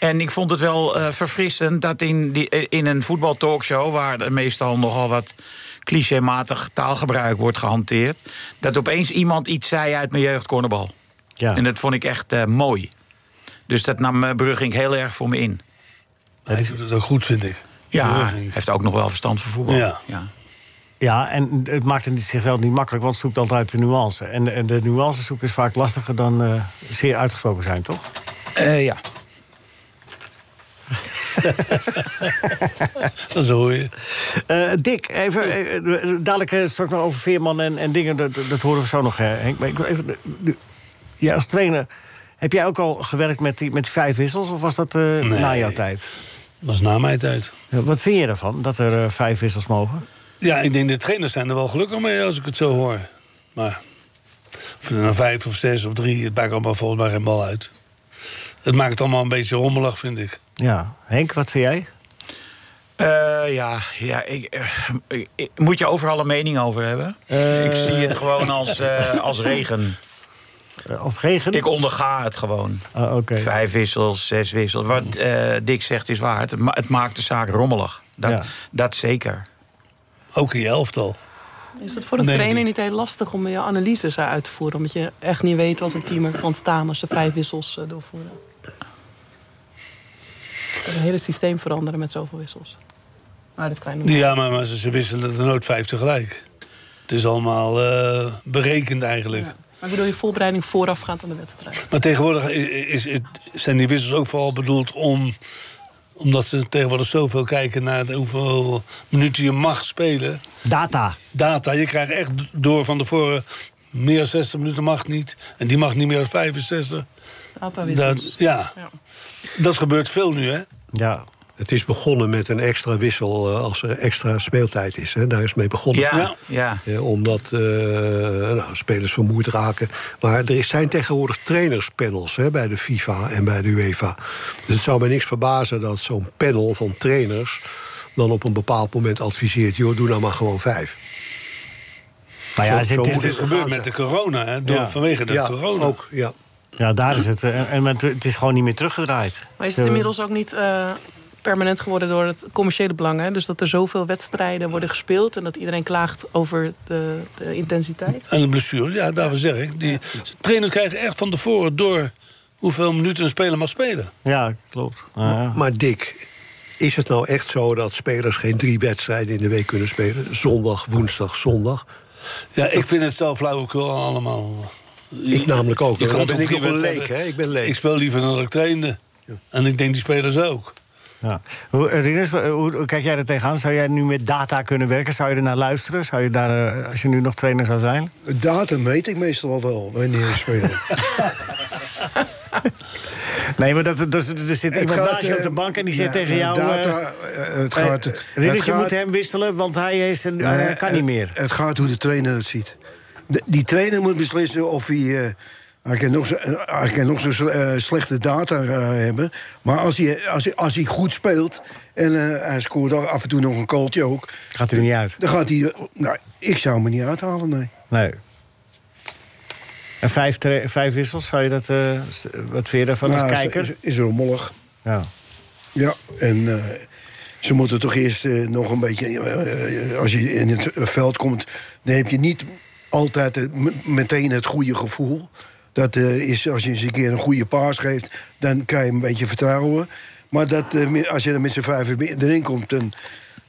S4: En ik vond het wel eh, verfrissend dat in, die, eh, in een voetbaltalkshow... waar er meestal nogal wat clichématig taalgebruik wordt gehanteerd... dat opeens iemand iets zei uit mijn jeugd cornerbal.
S3: Ja.
S4: En dat vond ik echt eh, mooi. Dus dat nam eh, Brugging heel erg voor me in.
S5: Hij doet het ook goed, vind ik.
S4: Ja, hij
S5: Brugging.
S4: heeft ook nog wel verstand van voetbal.
S5: Ja.
S4: Ja.
S3: Ja, en het maakt het zichzelf niet makkelijk, want het zoekt altijd de nuance. En, en de nuance zoeken is vaak lastiger dan eh, zeer uitgesproken zijn, toch?
S4: Eh, ja.
S5: Dat hoor je.
S3: Eh, Dick, even, eh, eh, dadelijk eh, straks nog over Veerman en, en dingen, dat, dat horen we zo nog, eh, Henk. Maar ik wil even, eh, ja, als trainer, heb jij ook al gewerkt met die, met die vijf wissels, of was dat eh, na jouw tijd?
S5: Dat is na mijn tijd.
S3: Ja, Wat vind je ervan, dat er eh, vijf wissels mogen?
S5: Ja, ik denk de trainers zijn er wel gelukkig mee als ik het zo hoor. Maar of er nou vijf of zes of drie, het maakt allemaal volgens mij geen bal uit. Het maakt het allemaal een beetje rommelig, vind ik.
S3: Ja, Henk, wat vind jij?
S4: Eh, ja, ja ik, eh, ik- ik- moet je overal een mening over hebben? Ik zie het gewoon als, eh, als regen.
S3: Eh, als regen?
S4: Ik onderga het gewoon.
S3: Ah, Oké.
S4: Vijf wissels, zes wissels. Wat eh Dick zegt is waar. Het, ma- het maakt de zaak rommelig. Dat,
S3: Ja.
S4: dat zeker.
S5: Ook in je elftal.
S6: Is het voor een
S5: Nee,
S6: trainer
S5: die-
S6: niet heel lastig om je analyses eh, uit te voeren? Omdat je echt niet weet wat een team er kan staan als ze vijf wissels eh, doorvoeren. Je kan Het hele systeem veranderen met zoveel wissels. Maar dat kan je nog
S5: Ja, maar, maar ze, ze wisselen er nooit vijf tegelijk. Het is allemaal eh, berekend eigenlijk.
S6: Maar ik bedoel, je voorbereiding voorafgaand aan de wedstrijd.
S5: Maar tegenwoordig i- i- is, het- zijn die wissels ook vooral bedoeld om omdat ze tegenwoordig zoveel kijken naar de hoeveel minuten je mag spelen.
S3: Data.
S5: data. Je krijgt echt door van tevoren. Meer dan 60 minuten mag niet. En die mag niet meer dan 65.
S6: Een aantal wissels.
S5: Dat, ja.
S6: Ja.
S5: dat gebeurt veel nu, hè?
S3: Ja,
S10: Het is begonnen met een extra wissel eh, als er extra speeltijd is. Hè. Daar is mee begonnen.
S4: Ja, ja.
S10: Eh, omdat eh, nou, spelers vermoeid raken. Maar er is- zijn tegenwoordig trainerspanels hè, bij de FIFA en bij de UEFA. Dus het zou mij niks verbazen dat zo'n panel van trainers dan op een bepaald moment adviseert: joh, doe nou maar gewoon vijf.
S3: maar Nou ja,
S10: Zo-
S3: het is- dus het
S10: zo
S5: Het
S3: is-
S5: is gebeurd met de corona, hè? Door,
S3: Ja.
S5: Vanwege de
S10: ja,
S5: corona.
S10: ook. Ja.
S3: ja, daar is het. eh, En, en het- het is gewoon niet meer teruggedraaid.
S6: Maar is het
S3: Zo-
S6: inmiddels ook niet eh, permanent geworden door het commerciële belang? Hè? Dus dat er zoveel wedstrijden worden gespeeld en dat iedereen klaagt over de, de intensiteit?
S5: En de blessures, ja, daarvan zeg ik. Die trainers krijgen echt van tevoren door hoeveel minuten een speler mag spelen.
S3: Ja, klopt. Ja, ja.
S10: Maar Dick, is het nou echt zo dat spelers geen drie wedstrijden in de week kunnen spelen? Zondag, woensdag, zondag.
S5: Ja, ik vind het zelf flauwekul allemaal.
S10: Ik namelijk ook.
S5: Je
S10: hoor.
S5: komt
S10: Dan
S5: op
S10: ben ik
S5: drie
S10: ook een leek,
S5: wedstrijden.
S10: hè? Ik ben
S5: Ik
S10: leek.
S5: speel liever dan dat ik trainde. En ik denk die spelers ook.
S3: Ja. Hoe, eh, Rinus, eh, hoe hoe kijk jij er tegenaan? Zou jij nu met data kunnen werken? Zou je er naar luisteren? Zou je daar, eh, als je nu nog trainer zou zijn?
S9: Datum weet ik meestal wel wanneer je speelt.
S3: Nee, maar dat, dat, dat- er
S9: Het
S3: zit iemand
S9: gaat,
S3: naast je op de
S9: eh,
S3: bank en die
S9: ja,
S3: zegt tegen jou... eh,
S9: data, eh, het
S3: eh,
S9: gaat,
S3: Rinus,
S9: het
S3: je
S9: gaat-
S3: moet hem wisselen, want hij, is een,
S9: Nee,
S3: hij eh, kan niet
S9: het-
S3: meer.
S9: Het gaat hoe de trainer het ziet. De- die trainer moet beslissen of hij. eh, hij kan nog zo, eh, hij kan nog zo sle- eh, slechte data eh, hebben. Maar als hij, als, hij, als hij goed speelt. en eh, hij scoort ook af en toe nog een kooltje ook.
S3: Gaat er niet uit.
S9: dan gaat hij. Nou, ik zou me niet uithalen, nee.
S3: Nee. En vijf, tra- vijf wissels, zou je dat... eh, s- wat vind je daarvan
S9: Nou,
S3: als
S9: is-
S3: kijker?
S9: Is, is rommelig.
S3: Ja.
S9: Ja, en eh, ze moeten toch eerst eh, nog een beetje... eh, eh, als je in het veld komt, dan heb je niet altijd het- m- meteen het goede gevoel. Dat eh, is als je eens een keer een goede paas geeft, dan kan je een beetje vertrouwen. Maar dat, eh, mi- als je er met z'n vijf erin komt, dan,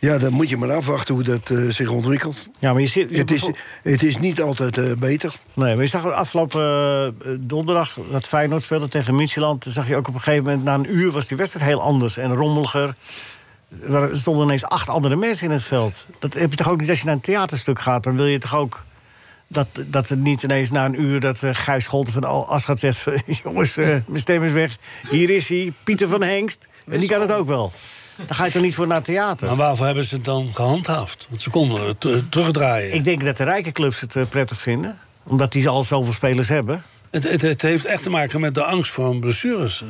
S9: Ja, dan moet je maar afwachten hoe dat eh, zich ontwikkelt.
S3: Ja, maar je zit... je
S9: Het is,
S3: bevo-
S9: het is niet altijd eh, beter.
S3: Nee, maar je zag afgelopen eh, donderdag dat Feyenoord speelde tegen Müncheland. Zag je ook op een gegeven moment, na een uur was die wedstrijd heel anders en rommeliger. Er stonden ineens acht andere mensen in het veld. Dat heb je toch ook niet als je naar een theaterstuk gaat? Dan wil je toch ook dat, dat het niet ineens na een uur... dat eh, Gijs Scholten van Al- Aschat zegt... van, jongens, eh, mijn stem is weg. Hier is hij, Pieter van Hengst. En die kan het ook wel. Dan ga je toch niet voor naar theater?
S5: Maar waarvoor hebben ze het dan gehandhaafd? Want ze konden het eh, terugdraaien.
S3: Ik denk dat de rijke clubs het eh, prettig vinden. Omdat die al zoveel spelers hebben.
S5: Het, het, het heeft echt te maken met de angst voor blessures.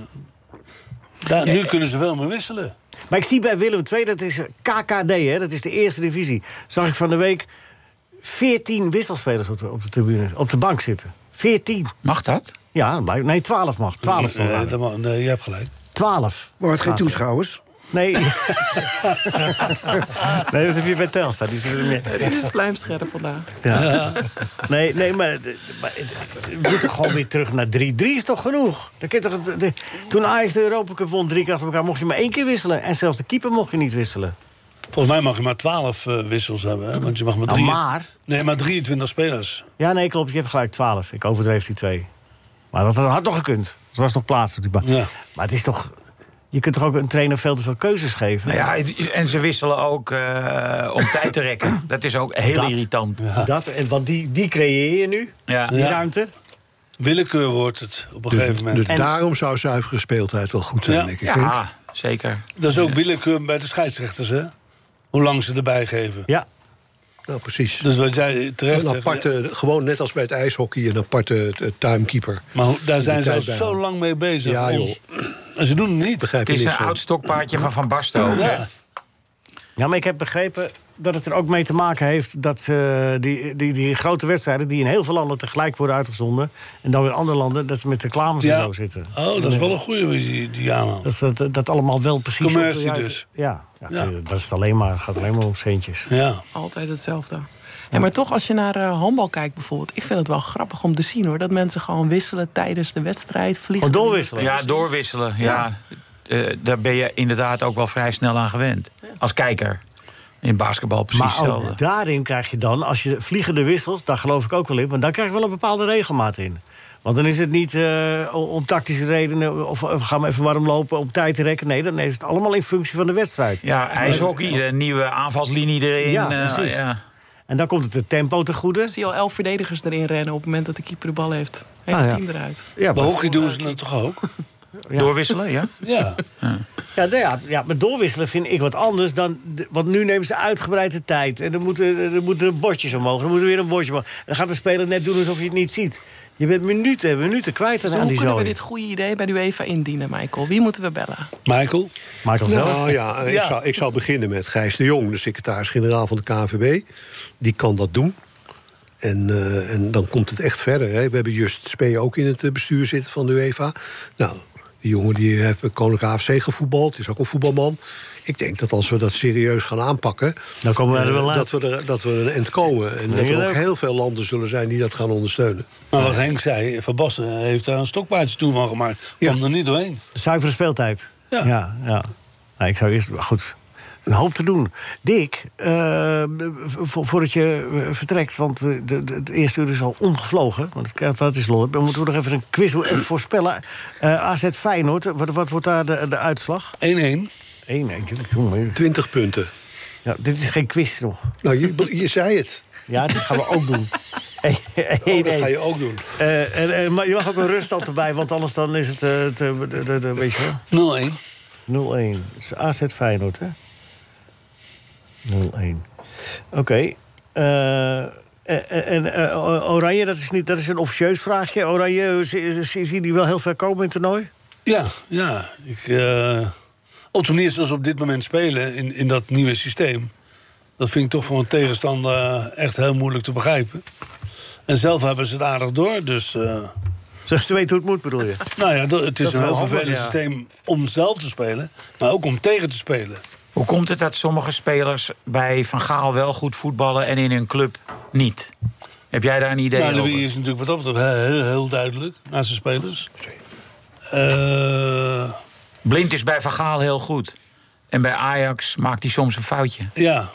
S5: Daar,
S3: eh,
S5: nu kunnen ze wel meer wisselen.
S3: Maar ik zie bij Willem II, dat is KKD, hè, dat is de eerste divisie. Zag ik van de week 14 wisselspelers op de, op de tribune, op de bank zitten. 14.
S4: Mag dat?
S3: Ja, dat blijkt- nee, 12 mag. 12 toch?
S5: Eh, dat mag- nee, je hebt gelijk.
S3: 12.
S9: Maar het geen
S3: Laten we-
S9: toeschouwers.
S3: Nee. nee, dat heb je bij Telstra. Die zitten er meer.
S6: Dit is blijmscherp vandaag.
S3: Ja. Nee, nee, maar, maar we moeten gewoon weer terug naar 3-3 is toch genoeg? Dan kun je toch, de, toen Ajax de Europa Cup won drie keer achter elkaar... mocht je maar één keer wisselen. En zelfs de keeper mocht je niet wisselen.
S5: Volgens mij mag je maar 12 eh, wissels hebben. Hè? Want je mag maar,
S3: Nou,
S5: drie-
S3: maar-
S5: Nee, maar 23 spelers.
S3: Ja, nee, klopt. Je hebt gelijk 12. Ik overdreef die twee. Maar dat had nog gekund. Er was nog plaats op die bank.
S5: Ja.
S3: Maar het is toch... Je kunt toch ook een trainer veel te veel keuzes geven?
S4: Nou ja, het is- en ze wisselen ook eh, om tijd te rekken. Dat is ook heel
S3: Dat.
S4: irritant.
S3: Dat, en, want die, die creëer je nu,
S4: Ja.
S3: die
S5: Ja.
S3: ruimte.
S5: Willekeur wordt het op een
S10: Dus,
S5: gegeven moment.
S10: dus daarom zou zuivere speeltijd wel goed zijn,
S5: Ja.
S10: denk ik. hè?
S4: ja, zeker.
S5: Dat is ook willekeur bij de scheidsrechters, hè? Hoe lang ze erbij geven.
S3: Ja.
S10: Nou, precies.
S5: Dus wat jij terecht
S10: Een
S5: zegt...
S10: aparte, gewoon net als bij het ijshockey, een aparte eh, timekeeper.
S5: Maar hoe- daar zijn ze al
S10: tijd bij
S5: zo
S10: aan.
S5: lang mee bezig.
S10: Ja,
S5: om-
S10: joh.
S5: En ze doen het niet.
S10: Begrijp
S4: Het is
S10: je niks
S4: een
S10: van.
S4: oud stokpaardje van Van Basten ook. hè?
S5: Ja.
S3: ja, maar ik heb begrepen dat het er ook mee te maken heeft... dat eh, die, die, die grote wedstrijden, die in heel veel landen tegelijk worden uitgezonden... en dan weer andere landen, dat ze met reclames en
S5: Ja.
S3: zo zitten.
S5: Oh, dat is wel een goede wie die, die aanhaalt.
S3: Dat, dat, dat allemaal wel precies... op de
S5: Commercie
S3: juiste-
S5: dus.
S3: Ja, ja,
S5: Ja.
S3: dat is het alleen maar, gaat alleen maar om centjes.
S5: Ja.
S6: Altijd hetzelfde. En maar toch, als je naar eh, handbal kijkt bijvoorbeeld... ik vind het wel grappig om te zien hoor... dat mensen gewoon wisselen tijdens de wedstrijd, vliegen.
S3: Gewoon Oh, doorwisselen.
S4: Ja, doorwisselen. Ja. Eh, daar ben je inderdaad ook wel vrij snel aan gewend. Als kijker. In basketbal precies
S3: Maar
S4: hetzelfde.
S3: ook daarin krijg je dan, als je vliegende wisselt, daar geloof ik ook wel in, want daar krijg je wel een bepaalde regelmaat in. Want dan is het niet eh, o- om tactische redenen of, of gaan we even warm lopen om tijd te rekken. Nee, dan is het allemaal in functie van de wedstrijd.
S4: Ja, ijshockey, de nieuwe aanvalslinie erin.
S3: Ja,
S4: eh,
S3: precies.
S4: ja.
S3: En dan komt het de tempo te goede.
S6: Ik zie al elf verdedigers erin rennen... op het moment dat de keeper de bal heeft. Hele
S3: Ah, ja.
S6: team eruit.
S3: Ja,
S5: Bij
S3: maar,
S5: hockey doen ze dat toch ook?
S4: Doorwisselen, ja?
S5: Ja.
S3: ja, nou ja, ja, maar doorwisselen vind ik wat anders dan. de- Want nu nemen ze uitgebreid de tijd. En dan moeten, dan moeten er bordjes omhoog. Dan moet er weer een bordje omhoog. En Dan gaat de speler net doen alsof je het niet ziet. Je bent minuten en minuten kwijt aan,
S6: Dus hoe
S3: aan die
S6: kunnen we
S3: zooi.
S6: dit goede idee bij de UEFA indienen, Michael? Wie moeten we bellen?
S5: Michael?
S3: Michael zelf.
S10: Nou ja, ik,
S5: Ja.
S10: Zou, ik zou beginnen met Gijs de Jong, de secretaris-generaal van de KNVB. Die kan dat doen. En, eh, en dan komt het echt verder. Hè. We hebben Just Spee ook in het eh, bestuur zitten van de UEFA. Nou, die jongen die heeft bij Koninklijke AFC gevoetbald, is ook een voetbalman. Ik denk dat als we dat serieus gaan aanpakken...
S3: Dan komen we er
S10: eh,
S3: wel uit.
S10: dat, we er, dat we er een eind komen. En dat
S3: je
S10: er
S3: dat
S10: ook
S3: ook?
S10: heel veel landen zullen zijn die dat gaan ondersteunen.
S5: Maar wat Henk zei, Van Basten heeft daar een stokpaardje toe van gemaakt. Kwam er niet doorheen.
S3: Zuivere speeltijd.
S5: Ja.
S3: ja, ja. Nou, ik zou eerst. maar Goed. Een hoop te doen. Dick, eh, vo- voordat je eh, vertrekt, want eh, de, de, het eerste uur is al omgevlogen. Want het kaartwaard is lol. Dan moeten we nog even een quiz doen, even voorspellen. Eh, AZ Feyenoord, wat, wat wordt daar de, de uitslag?
S5: 1-1.
S3: Eén, nee, jongen.
S10: 20 punten.
S3: Ja, dit is geen quiz nog.
S10: Nou, je, je zei het.
S3: Ja, dat gaan we ook doen.
S10: Oh,
S3: Eén,
S10: dat
S3: één.
S10: ga je ook doen.
S3: Eh, en, en- maar je mag ook een ruststand erbij, want anders dan is het... eh, het, eh, de- de- de- weet je
S5: 0-1.
S3: wel? 0-1. Het is AZ Feyenoord, hè? 0-1. Oké. Eh, en en eh, O- Oranje, dat is, niet, dat is een officieus vraagje. Oranje, zie zie- zie je die wel heel ver komen in het toernooi?
S5: Ja, ja. Ik, eh op de manier zoals ze op dit moment spelen in, in dat nieuwe systeem... dat vind ik toch voor een tegenstander eh, echt heel moeilijk te begrijpen. En zelf hebben ze het aardig door, dus... eh,
S3: Zoals ze weten hoe het moet, bedoel je?
S5: nou ja, dat- het is,
S3: is
S5: een
S3: wel
S5: heel
S3: handig,
S5: vervelend
S3: ja.
S5: systeem om zelf te spelen... maar ook om tegen te spelen.
S4: Hoe komt het dat sommige spelers bij Van Gaal wel goed voetballen... en in hun club niet? Heb jij daar een idee
S5: Nou,
S4: over?
S5: Louis is natuurlijk wat dat betreft heel, heel, heel duidelijk naar zijn spelers. Eh,
S4: Blind is bij Van Gaal heel goed. En bij Ajax maakt hij soms een foutje.
S5: Ja.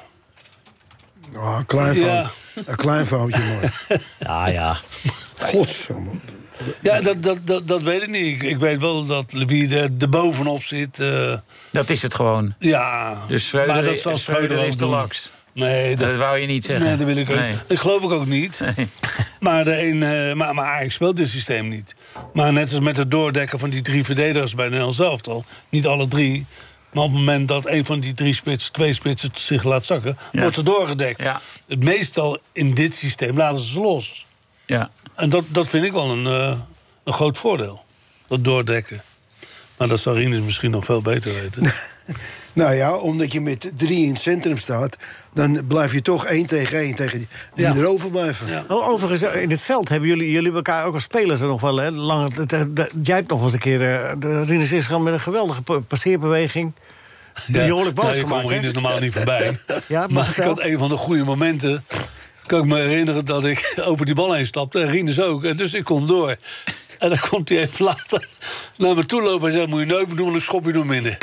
S9: Oh, een klein foutje.
S5: Ja.
S9: Een klein foutje, man.
S3: Ah ja.
S9: Godsamme.
S5: Ja, dat, dat, dat, dat weet ik niet. Ik, ik weet wel dat wie er, er bovenop zit. eh,
S4: Dat is het gewoon.
S5: ja,
S4: Dus Schreuder,
S5: maar dat zal
S4: Schreuder
S5: Schreuder ook
S4: is te
S5: doen.
S4: laks.
S5: Oh. Nee,
S4: Dat wou je niet zeggen.
S5: Nee, dat wil ik ook.
S4: Nee.
S5: Dat geloof ik ook niet. Maar, de een, eh, maar, maar Ajax speelt dit systeem niet. Maar net als met het doordekken van die drie verdedigers bij Nederland zelf al. Niet alle drie. Maar op het moment dat een van die drie spitsen, twee spitsen zich laat zakken,
S4: Ja.
S5: wordt er doorgedekt.
S4: Ja.
S5: Het meestal in dit systeem laten ze ze los.
S4: Ja.
S5: En dat, dat vind ik wel een, eh, een groot voordeel. Dat doordekken. Maar dat zou Rinus misschien nog veel beter weten.
S9: Nou ja, omdat je met drie in het centrum staat... dan blijf je toch één tegen één tegen die, die
S5: Ja.
S9: erover blijven.
S5: Ja.
S3: Oh, Overigens, eh, in het veld hebben jullie, jullie elkaar ook als spelers er nog wel. Hè, lang, het- het- het- jij hebt nog wel eens een keer. eh, de Rinus Israël met een geweldige pa- passeerbeweging. Die
S5: Ja,
S3: behoorlijk boos
S5: nou, je
S3: gemaakt.
S5: kwam Rinus
S3: hè?
S5: normaal niet voorbij.
S3: Ja, maar
S5: maar ik
S3: vertel.
S5: had een van de goede momenten. Kan ik me herinneren dat ik over die bal heen stapte. En Rinus ook. En dus ik kon door. En dan komt hij even later naar me toe lopen. En zegt, moet je nooit meer doen, want ik schop je door midden.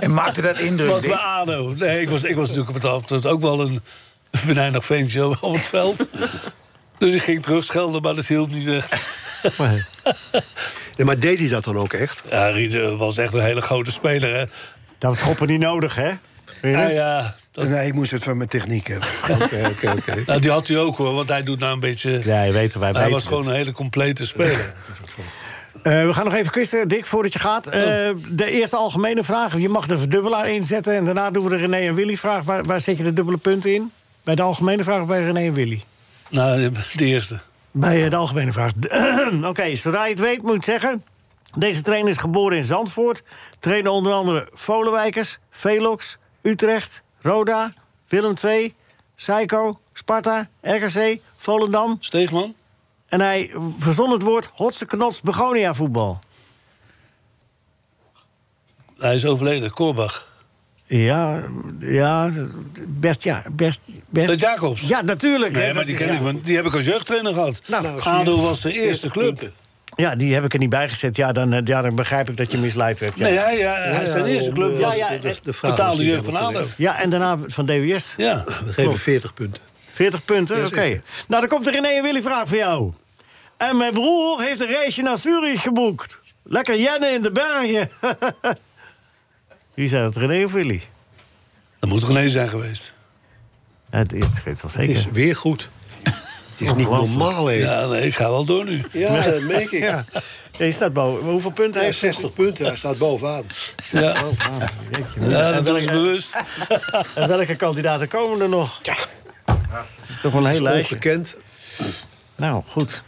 S8: En maakte dat indruk,
S5: was bij
S8: Dick?
S5: ADO. Nee, ik was, ik was natuurlijk op het af. Dat was ook wel een venijnig ventje op- op het veld. Dus ik ging terug schelden, maar dat hielp niet echt.
S10: Maar, nee, maar deed hij dat dan ook echt?
S5: Ja, Rinus was echt een hele grote speler, hè.
S3: Dat was schoppen niet nodig, hè? Rinus?
S5: Ah, ja, dat-
S9: Nee, ik moest het van mijn techniek hebben.
S10: Oké, oké, oké.
S5: nou, die had hij ook, hoor. Want hij doet nou een beetje...
S3: Ja, je weet het, wij
S5: Hij
S3: weten
S5: was
S3: het.
S5: gewoon een hele complete speler.
S3: Eh, we gaan nog even quizzen, Dick, voordat je gaat. Eh, de eerste algemene vraag. Je mag de verdubbelaar inzetten. En daarna doen we de René en Willy vraag. Waar, waar zet je de dubbele punten in? Bij de algemene vraag of bij René en Willy?
S5: nou, de eerste.
S3: Bij eh, de algemene vraag. Oké, zodra je het weet, moet je het zeggen. Deze trainer is geboren in Zandvoort. Trainen onder andere Volenwijkers, Velox, Utrecht, Roda, Willem II, Psycho, Sparta, RKC, Volendam.
S5: Steegman?
S3: En hij verzon het woord hotse knots begonia voetbal.
S5: Hij is overleden, Korbach.
S3: Ja, ja, Bert, ja, Bert, Bert.
S5: Bert Eh, Jacobs?
S3: Ja, natuurlijk. hè,
S5: Nee, maar
S3: dat
S5: die,
S3: is-
S5: ken ik,
S3: ja.
S5: want die heb ik als jeugdtrainer gehad.
S3: Nou,
S5: ADO was de eerste club.
S3: Ja, die heb ik er niet bij gezet. Ja, dan, eh, ja, dan begrijp ik dat je misleid werd. Ja,
S5: Nee, hij, ja, hij- zijn eerste club was
S3: ja,
S5: de-
S3: de-
S5: de
S10: vraag is
S5: betaalde
S10: niet
S5: jeugd van
S10: helemaal
S5: ADO.
S3: ja en daarna van DWS.
S5: Ja.
S10: We geven 40 punten.
S3: 40 punten, oké.
S10: Jazeker.
S3: Nou, dan komt de René en Willy vraag voor jou. En mijn broer heeft een reisje naar Zurich geboekt. Lekker jennen in de bergen. Wie zei dat, René of Willy?
S5: Dat moet geen zijn geweest.
S3: Het is, ik weet het wel zeker.
S10: Het is weer goed. Het is niet normaal, hè?
S5: Ja, nee, ik ga wel door nu.
S10: Ja, dat merk ik.
S3: Ja, je staat boven. Maar hoeveel punten
S10: Hij heeft
S3: heeft hij?
S10: 60 punten, hij staat bovenaan.
S5: Ja,
S3: oh,
S5: ja dat was bewust.
S3: En welke kandidaten komen er nog? Ja. Het is toch wel een heel lijstje.
S10: Ongekend.
S3: Nou, goed.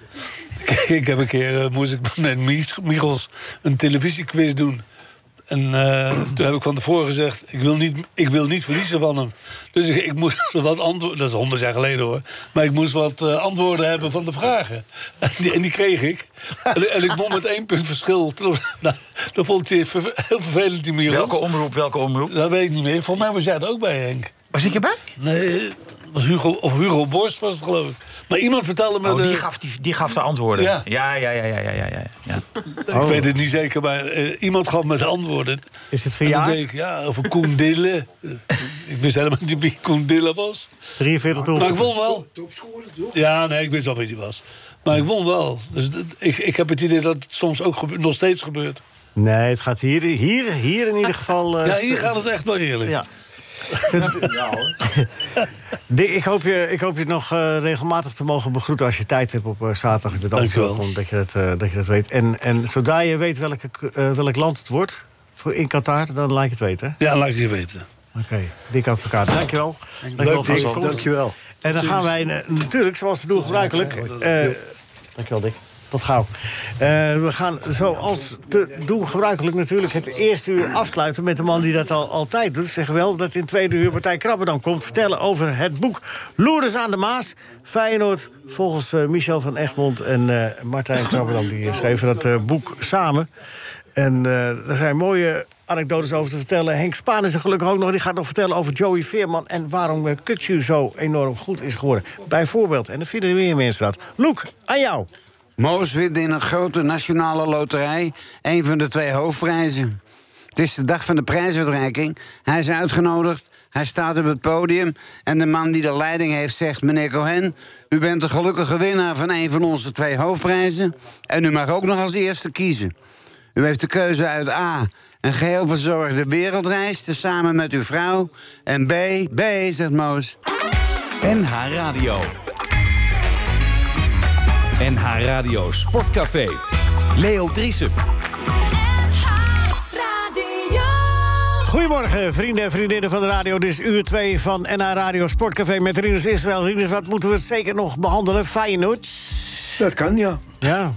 S5: Kijk, ik heb een keer, eh, moest ik met Mich- Michels een televisiequiz doen. En eh, toen heb ik van tevoren gezegd, ik wil niet, ik wil niet verliezen van hem. Dus ik, ik moest wat antwoorden, dat is honderd jaar geleden hoor. Maar ik moest wat eh, antwoorden hebben van de vragen. En die, en die kreeg ik. En, en ik won met één punt verschil. Toen- nou, dat vond hij ver- heel vervelend, die Michels.
S4: Welke omroep, welke omroep?
S5: Dat weet ik niet meer. Volgens mij was jij er ook bij, Henk.
S4: Was ik erbij?
S5: Nee, was Hugo, of Hugo Borst was het geloof ik. Maar iemand vertelde me...
S4: Oh, die
S5: de-
S4: gaf, die, die gaf de antwoorden.
S5: Ja.
S4: ja, ja, ja, ja, ja, ja. ja, ja.
S5: Ik weet het niet zeker, maar eh, iemand gaf me de antwoorden.
S3: Oh. Is het
S5: En toen
S3: verjaard?
S5: deed ik, ja, over Koen Dille. Eh, ik wist helemaal niet wie Koen Dille was.
S3: 43
S5: Maar ik
S3: doelpunten.
S5: won wel. Ja, nee, ik wist wel wie die was. Maar ik won wel. Dus dat- ik, ik heb het idee dat het soms ook gebe- nog steeds gebeurt.
S3: Nee, het gaat hier, hier, hier in ieder geval... eh,
S5: Ja, hier gaat het echt wel eerlijk.
S3: Ja. Dick, ik hoop je, ik hoop je nog eh, regelmatig te mogen begroeten als je tijd hebt op eh, zaterdag. Dat alles
S5: Dankjewel.
S3: wel komt, dat je dat, eh, dat je dat weet. En, en zodra je weet welke, k- eh, welk land het wordt voor in Qatar, dan laat ik het weten. hè?
S5: Ja, laat ik je weten.
S3: Oké, Dick Advocaat, dankjewel. Dankjewel
S10: Leuk,
S3: voor je
S10: Dick.
S3: komst.
S10: Dankjewel.
S3: En dan gaan wij eh, natuurlijk, zoals we doen gebruikelijk... eh dankjewel, Dick. Tot gauw. Eh, we gaan zoals te doen gebruikelijk natuurlijk het eerste uur afsluiten... met de man die dat al altijd doet. Zeg wel dat in het tweede uur Partij Krabben dan komt vertellen over het boek... Loerders aan de Maas, Feyenoord, volgens eh, Michel van Egmond... en eh, Martijn Krabberdam, die schreven dat eh, boek samen. En eh, er zijn mooie anekdotes over te vertellen. Henk Spaan is er gelukkig ook nog. Die gaat nog vertellen over Joey Veerman... en waarom eh, Kukçu zo enorm goed is geworden. Bijvoorbeeld, en er vinden meer mensen dat. Loek, aan jou.
S2: Moos wint in een grote nationale loterij een van de twee hoofdprijzen. Het is de dag van de prijsuitreiking. Hij is uitgenodigd. Hij staat op het podium. En de man die de leiding heeft zegt: Meneer Cohen, u bent de gelukkige winnaar van een van onze twee hoofdprijzen. En u mag ook nog als eerste kiezen. U heeft de keuze uit A. Een geheel verzorgde wereldreis, tezamen met uw vrouw. En B. B, zegt Moos.
S11: NH Radio. NH Radio Sportcafé. Leo Driesen.
S3: Goedemorgen, vrienden en vriendinnen van de radio. Dit is uur 2 van NH Radio Sportcafé met Rinus Israël. Rinus, wat moeten we zeker nog behandelen? Feyenoord?
S9: Dat kan, ja.
S3: Ja.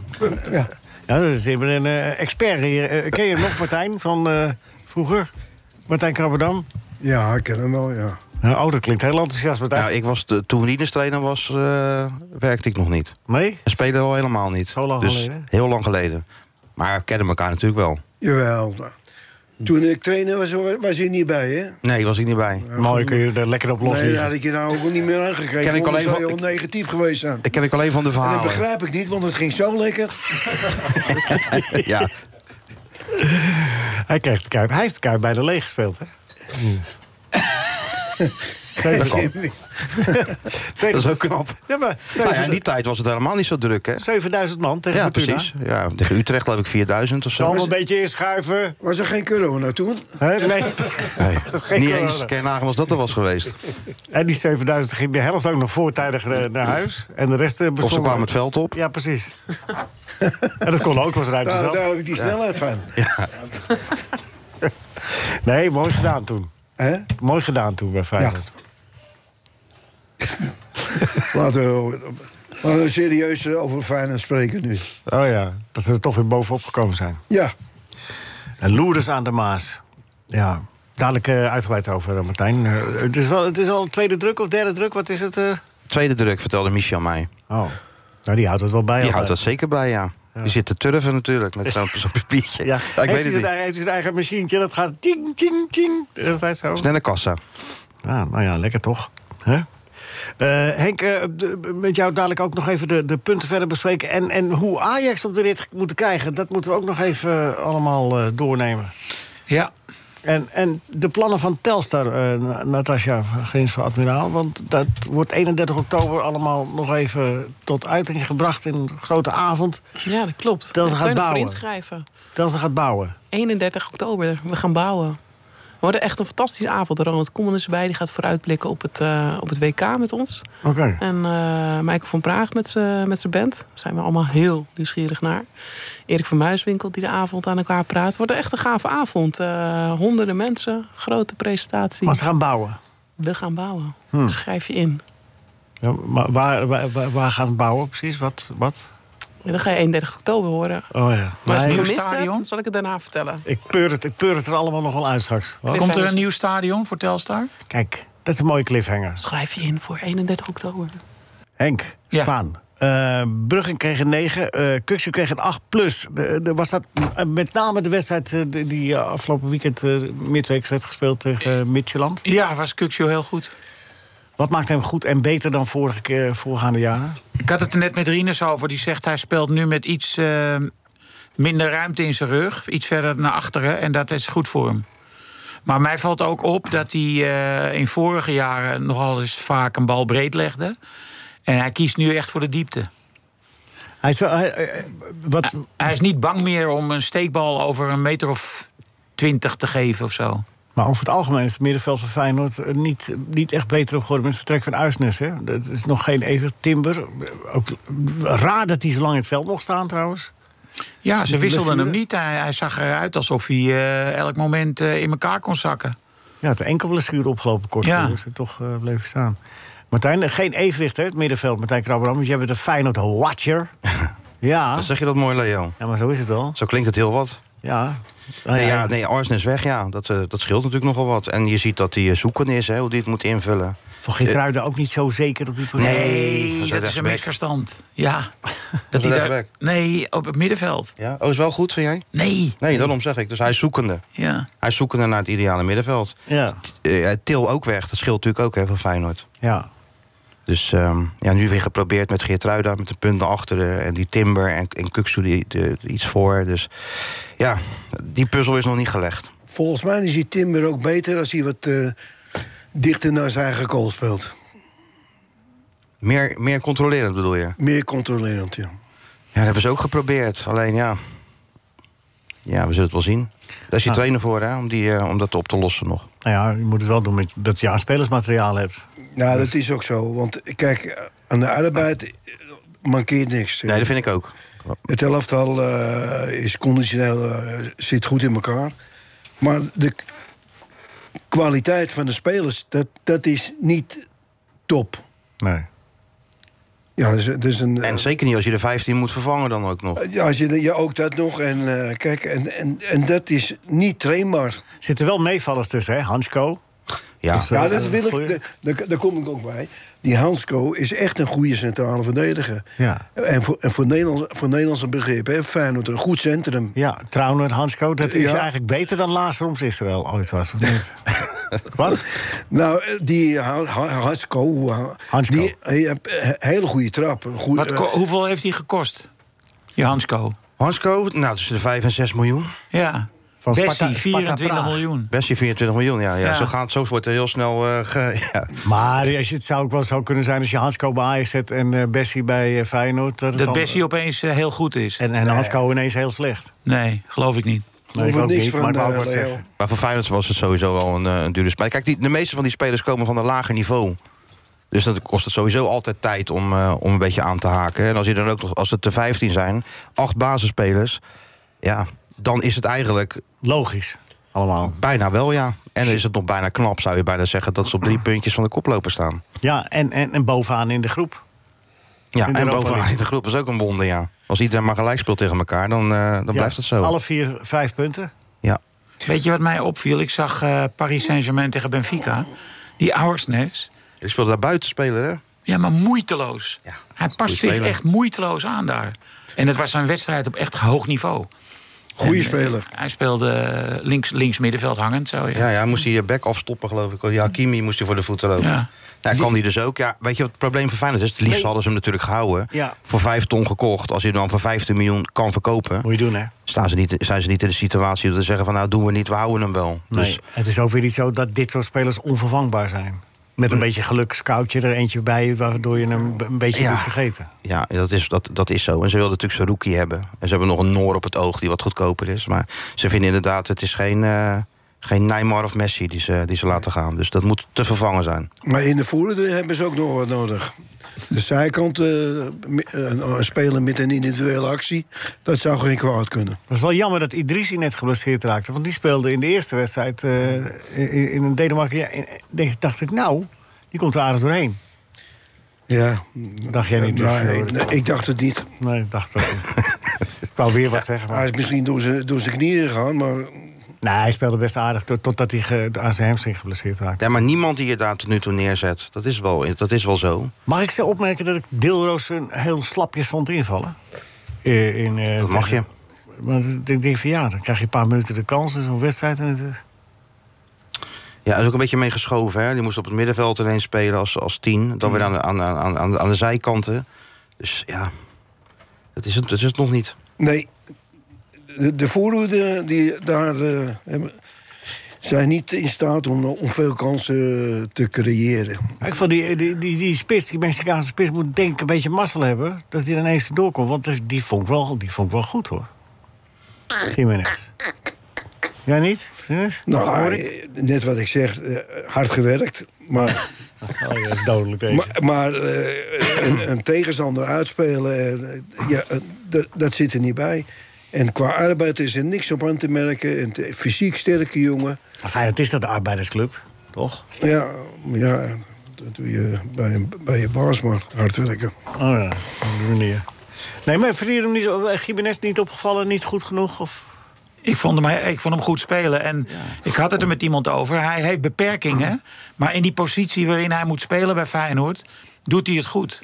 S3: ja. dat is even een eh, expert hier. Eh, ken je hem nog, Martijn, van eh, vroeger? Martijn Krabberdam?
S9: Ja, ik ken hem wel, ja.
S3: Nou, oh, dat klinkt heel enthousiast, Martijn.
S13: Nou, ik was de- toen Rinus trainer was, eh, werkte ik nog niet.
S3: Nee?
S13: En speelde al helemaal niet.
S3: Zo lang
S13: dus
S3: geleden?
S13: Heel lang geleden. Maar we kennen elkaar natuurlijk wel.
S9: Jawel. Toen ik trainer was, was je niet bij, hè?
S13: Nee, was ik niet bij.
S3: Mooi, kun je er lekker op
S9: Nee, daar had ik je nou ook niet meer aangekregen.
S13: Ken ik
S9: anders
S13: alleen
S9: zou je
S13: van-
S9: al negatief geweest zijn.
S13: Ik ken ik alleen van de
S9: En
S13: verhalen.
S9: dat begrijp ik niet, want het ging zo lekker.
S13: ja.
S3: Hij, kreeg de kuip. Hij heeft de kuip bij de leeg gespeeld, hè?
S13: Dat kan.
S3: Tegen-
S13: Dat is ook knap.
S3: Ja, maar
S13: Nou ja,
S3: zeven-
S13: in die tijd was het helemaal niet zo druk, hè?
S3: 7000 man tegen
S13: Ja,
S3: Fortuna.
S13: precies. Ja, tegen Utrecht geloof ik 4000 of zo.
S3: Allemaal een beetje inschuiven.
S9: Was er geen corona toen?
S3: Hè? Nee.
S13: Nee,
S3: Geen
S13: niet
S3: corona.
S13: eens Ken Nagel als dat er was geweest.
S3: En die 7000 ging de helft ook nog voortijdig eh, naar huis. En de rest eh, bestond...
S13: Of ze kwamen het veld op.
S3: Ja, precies. en dat kon ook, was ruimte
S9: Daar,
S3: zat.
S9: daar heb ik die snelheid van.
S3: Nee, mooi gedaan toen.
S9: Hè?
S3: Mooi gedaan toen bij Feyenoord.
S9: Laten we, laten we serieus eh, over Feyenoord spreken nu.
S3: Oh ja, dat ze er toch weer bovenop gekomen zijn.
S9: Ja,
S3: En Loerders aan de Maas. Ja, dadelijk eh, uitgebreid over, eh, Martijn. Eh, het, is wel, het is al tweede druk of derde druk, wat is het? eh?
S13: Tweede druk, vertelde Michel mij.
S3: Oh, nou die houdt het wel bij.
S13: Die
S3: al,
S13: houdt
S3: eh.
S13: dat zeker bij, ja. Die zit te turven natuurlijk met zo'n zo'n papiertje.
S3: Ja.
S13: Ja, ik weet
S3: heeft,
S13: het
S3: hij
S13: niet.
S3: zijn, heeft hij zijn eigen machientje, dat gaat ting, ting, ting. De hele tijd zo.
S13: Snelle kassa.
S3: Ja, nou ja, lekker toch. Hè? Eh, Henk, eh, de- met jou dadelijk ook nog even de, de punten verder bespreken. En, en hoe Ajax op de rit moet krijgen, dat moeten we ook nog even eh, allemaal eh, doornemen.
S4: Ja.
S3: En, en de plannen van Telstar, eh, Na- Natasja Grins van Admiraal. Want dat wordt 31 oktober allemaal nog even tot uiting gebracht in een grote avond.
S6: Ja, dat klopt.
S3: Dat
S6: Daar
S3: gaat
S6: kan je nog voor
S3: bouwen.
S6: inschrijven.
S3: Telstar gaat bouwen.
S6: 31 oktober, we gaan bouwen. We worden echt een fantastische avond. Ronald Koeman is erbij, die gaat vooruitblikken op het, eh, op het WK met ons.
S3: Oké.
S6: En eh, Michael van Praag met zijn met zijn band. Daar zijn we allemaal heel nieuwsgierig naar. Erik van Muiswinkel die de avond aan elkaar praat. Het wordt echt een gave avond. Eh, honderden mensen, grote presentatie.
S3: Maar ze gaan bouwen.
S6: We gaan bouwen.
S3: Hmm.
S6: Schrijf je in.
S3: Ja, maar waar, waar, waar- waar gaan ze bouwen precies? Wat? wat?
S6: En dan ga je 31 oktober horen.
S3: Oh ja.
S6: Maar als je
S3: Nee,
S6: het gemist hebt, zal ik het daarna vertellen.
S3: ik, peur het, ik peur het er allemaal nog wel uit straks. Wat?
S4: Komt er een nieuw stadion voor Telstar?
S3: Kijk, dat is een mooie cliffhanger.
S6: Schrijf je in voor 31 oktober.
S3: Henk,
S4: Ja.
S3: Spaan. Eh Bruggen kreeg een 9, eh Kuxu kreeg een 8 plus. De- de- was dat eh, met name de wedstrijd eh, die, die eh, afgelopen weekend eh midweeks werd gespeeld tegen eh, Midtjylland?
S4: Ja, was Kukshow heel goed.
S3: Wat maakt hem goed en beter dan vorige keer, voorgaande jaren?
S4: Ik had het er net met Rinus over. Die zegt hij speelt nu met iets eh, minder ruimte in zijn rug. Iets verder naar achteren. En dat is goed voor hem. Maar mij valt ook op dat hij eh, in vorige jaren nogal eens vaak een bal breed legde. En hij kiest nu echt voor de diepte.
S3: Hij is wel, hij- eh, eh, wat,
S4: Hij is niet bang meer om een steekbal over een meter of twintig te geven of zo.
S3: maar over het algemeen is het middenveld van Feyenoord eh, niet, niet echt beter op geworden met het vertrek van Uisnes. Hè? Dat is nog geen even timber. eh, Ook raar dat hij zo lang in het veld mocht staan trouwens.
S4: Ja, ze
S3: Met een
S4: wisselden hem
S3: blessure?
S4: niet. Hij, hij zag eruit alsof hij eh, elk moment eh, in elkaar kon zakken.
S3: Ja, het enkel blessure opgelopen kort.
S4: Ja.
S3: Dus het toch eh, bleef staan. Martijn, eh, geen evenwicht hè, het middenveld. Martijn Krabberam, want jij bent een Feyenoord watcher. ja.
S13: Dan zeg je dat mooi, Leo.
S3: ja, maar zo is het wel.
S13: Zo klinkt het heel wat.
S3: Ja. Nou
S13: Nee,
S3: ja,
S13: ja, nee Arsen is weg, ja. Dat, eh, dat scheelt natuurlijk nogal wat. En je ziet dat hij eh, zoekende is, hè, hoe die het moet invullen.
S3: Van Geertruiden ook niet zo zeker op die positie.
S13: dat
S4: Nee,
S13: is
S4: dat is een
S13: rechtsback.
S4: misverstand. Ja.
S13: Dat is
S4: hij daar-
S13: rechtsback.
S4: Nee, op het middenveld.
S13: Ja? Oh, is wel goed, vind jij?
S4: Nee.
S13: Nee, daarom zeg ik. Dus hij is zoekende.
S4: Ja.
S13: Hij is zoekende naar het ideale middenveld.
S3: Ja.
S13: Eh, Til ook weg, dat scheelt natuurlijk ook hè, van Feyenoord.
S3: ja.
S13: Dus ehm, ja, nu weer geprobeerd met Geertruida, met de punten achteren... en die Timber en, en Kuksu die, de- iets voor. Dus ja, die puzzel is nog niet gelegd.
S9: Volgens mij is die Timber ook beter als hij wat eh, dichter naar zijn eigen goal speelt.
S13: Meer, meer controlerend bedoel je?
S9: Meer controlerend, ja.
S13: Ja, dat hebben ze ook geprobeerd. Alleen ja, ja we zullen het wel zien. Daar is je
S3: Nou.
S13: trainer voor, hè, om, die, eh, om dat op te lossen nog.
S3: Nou ja, je moet het wel doen met, dat je aan spelersmateriaal hebt.
S9: Nou, dat is ook zo. Want kijk, aan de arbeid eh, mankeert niks.
S13: Nee, dat vind ik ook.
S9: Het elftal eh, is conditioneel, eh, zit goed in elkaar. Maar de k- kwaliteit van de spelers, dat, dat is niet top.
S3: Nee.
S9: Ja, dus, dus een,
S13: en zeker niet als je de 15 moet vervangen dan ook nog.
S9: Eh, Ja, Als je, ja, ook dat nog. En eh, kijk, en, en, en dat is niet trainbaar.
S3: Zitten wel meevallers tussen, hè? Hansco. eh,
S13: Ja,
S9: ja dat wil ik. da- Daar, daar kom ik ook bij. Die Hansco is echt een goede centrale verdediger.
S3: Ja.
S9: En voor, en voor, Nederlands, voor Nederlandse begrip, hè, Feyenoord, een goed centrum.
S3: Ja, Trouwner, Hansco, dat is
S9: Ja.
S3: eigenlijk beter dan Lazaroms Israël ooit was, of niet? Wat?
S9: Nou, eh, die Ha- Ha- Hansco, eh, die hij heeft een hele goede trap. een Goed,
S4: Wat,
S9: eh,
S4: ko- hoeveel heeft hij gekost? Die Hansco.
S13: Hansco, nou tussen de 5 en 6 miljoen.
S4: Ja.
S13: Van
S4: Bessie, 24 miljoen.
S13: Bessie 24 miljoen, ja. ja.
S4: Ja.
S13: Zo, gaat, zo wordt er heel snel... eh, ge- ja.
S3: Maar als je, het zou ook wel zo kunnen zijn als je Hansco bij Ajax zet en eh, Bessie bij eh, Feyenoord. het
S4: Dat
S3: dan-
S4: Bessie opeens eh, heel goed is.
S3: En, en Hansco ineens heel slecht.
S4: Nee, geloof ik niet.
S3: Nee, ik ook niet, eh, maar ik wou ook wat zeggen.
S13: Maar voor Feyenoord was het sowieso wel een, eh, een dure speler. Kijk, die, de meeste van die spelers komen van een lager niveau. Dus dan kost het sowieso altijd tijd om, eh, om een beetje aan te haken. En als, je dan ook nog, als het er 15 zijn, acht basisspelers... ja, dan is het eigenlijk...
S3: Logisch, allemaal.
S13: Bijna wel, ja. En dan is het nog bijna knap, zou je bijna zeggen... dat ze op drie puntjes van de koploper staan.
S3: Ja, en, en, en bovenaan in de groep.
S13: Ja,
S3: In de
S13: en
S3: Europa
S13: bovenaan
S3: League.
S13: in de groep is ook een wonder, ja. Als iedereen maar gelijk speelt tegen elkaar, dan, eh, dan
S3: Ja,
S13: blijft het zo.
S3: Alle vier vijf punten.
S13: Ja.
S4: Weet je wat mij opviel? Ik zag eh, Paris Saint-Germain tegen Benfica. Die Auersnes.
S13: Die speelde daar buitenspeler, hè?
S4: Ja, maar moeiteloos. Hij past zich
S13: speler.
S4: echt moeiteloos aan daar. En het was zijn wedstrijd op echt hoog niveau.
S13: Goeie
S4: En, eh,
S13: speler.
S4: Hij speelde eh, links, links middenveld hangend. Zo, ja.
S13: Ja, ja, hij moest die back afstoppen, geloof ik. Ja, Hakimi moest hij voor de voeten lopen.
S4: Ja.
S13: Ja. kan die dus ook. Ja, weet je wat het probleem van Feyenoord is? Het liefst hadden ze hem natuurlijk gehouden.
S3: Ja.
S13: Voor 5 ton gekocht. Als je hem dan voor 15 miljoen kan verkopen...
S3: Moet je doen, hè?
S13: Staan ze niet, zijn ze niet in de situatie dat ze zeggen van... nou, doen we niet, we houden hem wel.
S3: Nee,
S13: Dus
S3: het is ook weer niet zo dat dit soort spelers onvervangbaar zijn. Met een beetje geluk scout je er eentje bij... waardoor je hem een beetje
S13: Ja.
S3: moet vergeten.
S13: ja, dat is, dat, dat is zo. En ze wilden natuurlijk zo'n rookie hebben. En ze hebben nog een Noor op het oog die wat goedkoper is. Maar ze vinden inderdaad, het is geen, eh, geen Neymar of Messi die ze, die ze laten gaan. Dus dat moet te vervangen zijn.
S9: Maar in de voerder hebben ze ook nog wat nodig. De zijkant, eh, mi- eh, een, een speler met een individuele actie, dat zou geen kwaad kunnen.
S3: Het was wel jammer dat Idrissi net geblesseerd raakte. Want die speelde in de eerste wedstrijd eh, in, in Denemarken. Ja, in- in- dacht ik, nou, die komt er aardig doorheen.
S9: Ja.
S3: Dacht jij niet?
S9: Nou,
S3: dus,
S9: ik,
S3: hoor.
S9: nee, ik dacht het niet.
S3: Nee, ik dacht het ook niet. ik wou weer wat zeggen. Maar...
S9: Hij is misschien door zijn, door zijn knieën gegaan, maar...
S3: Nee, hij speelde best aardig tot- totdat hij ge- aan zijn hamstring geblesseerd raakte.
S13: Ja, maar niemand die je daar tot nu toe neerzet. Dat is wel, dat is wel zo.
S3: Mag ik ze opmerken dat ik Deelroos een heel slapjes vond invallen? Eh, In, eh,
S13: Dat mag je.
S3: Maar ik denk van ja, dan krijg je een paar minuten de kans in zo'n wedstrijd. En het, is-
S13: Ja, er is ook een beetje mee geschoven. Hè? Die moest op het middenveld ineens spelen als, als tien. Dan weer aan de, aan, aan, aan, aan de zijkanten. Dus ja, dat is het, dat is het nog niet.
S9: Nee, de, de voorhoede die daar eh, hebben, zijn niet in staat om, om veel kansen te creëren.
S3: ik vond die, eh, die, die, die spits, die Mexicaanse spits, moet denk ik een beetje mazzel hebben dat hij er ineens doorkomt. Want die vond ik wel, die vond ik wel goed hoor. Jiménez. Jij niet? Jiménez?
S9: Nou, eh, net wat ik zeg, eh, hard gewerkt, maar...
S3: Oh ja, dodelijk deze.
S9: Maar, maar, eh, een, een tegenstander uitspelen, eh, ja, eh, dat- dat zit er niet bij. En qua arbeid is er niks op aan te merken. En te- fysiek sterke jongen.
S3: Nou, Fijn, het is dat de arbeidersclub, toch?
S9: Ja, ja dat doe je bij, een- bij je baas maar hard werken.
S3: Oh ja, op die manier. Nee, maar vind je hem niet, eh, Gimenez niet opgevallen, niet goed genoeg? Of?
S4: Ik vond, hem, ik vond hem goed spelen. En ik had het er met iemand over. Hij heeft beperkingen. Maar in die positie waarin hij moet spelen bij Feyenoord... doet hij het goed.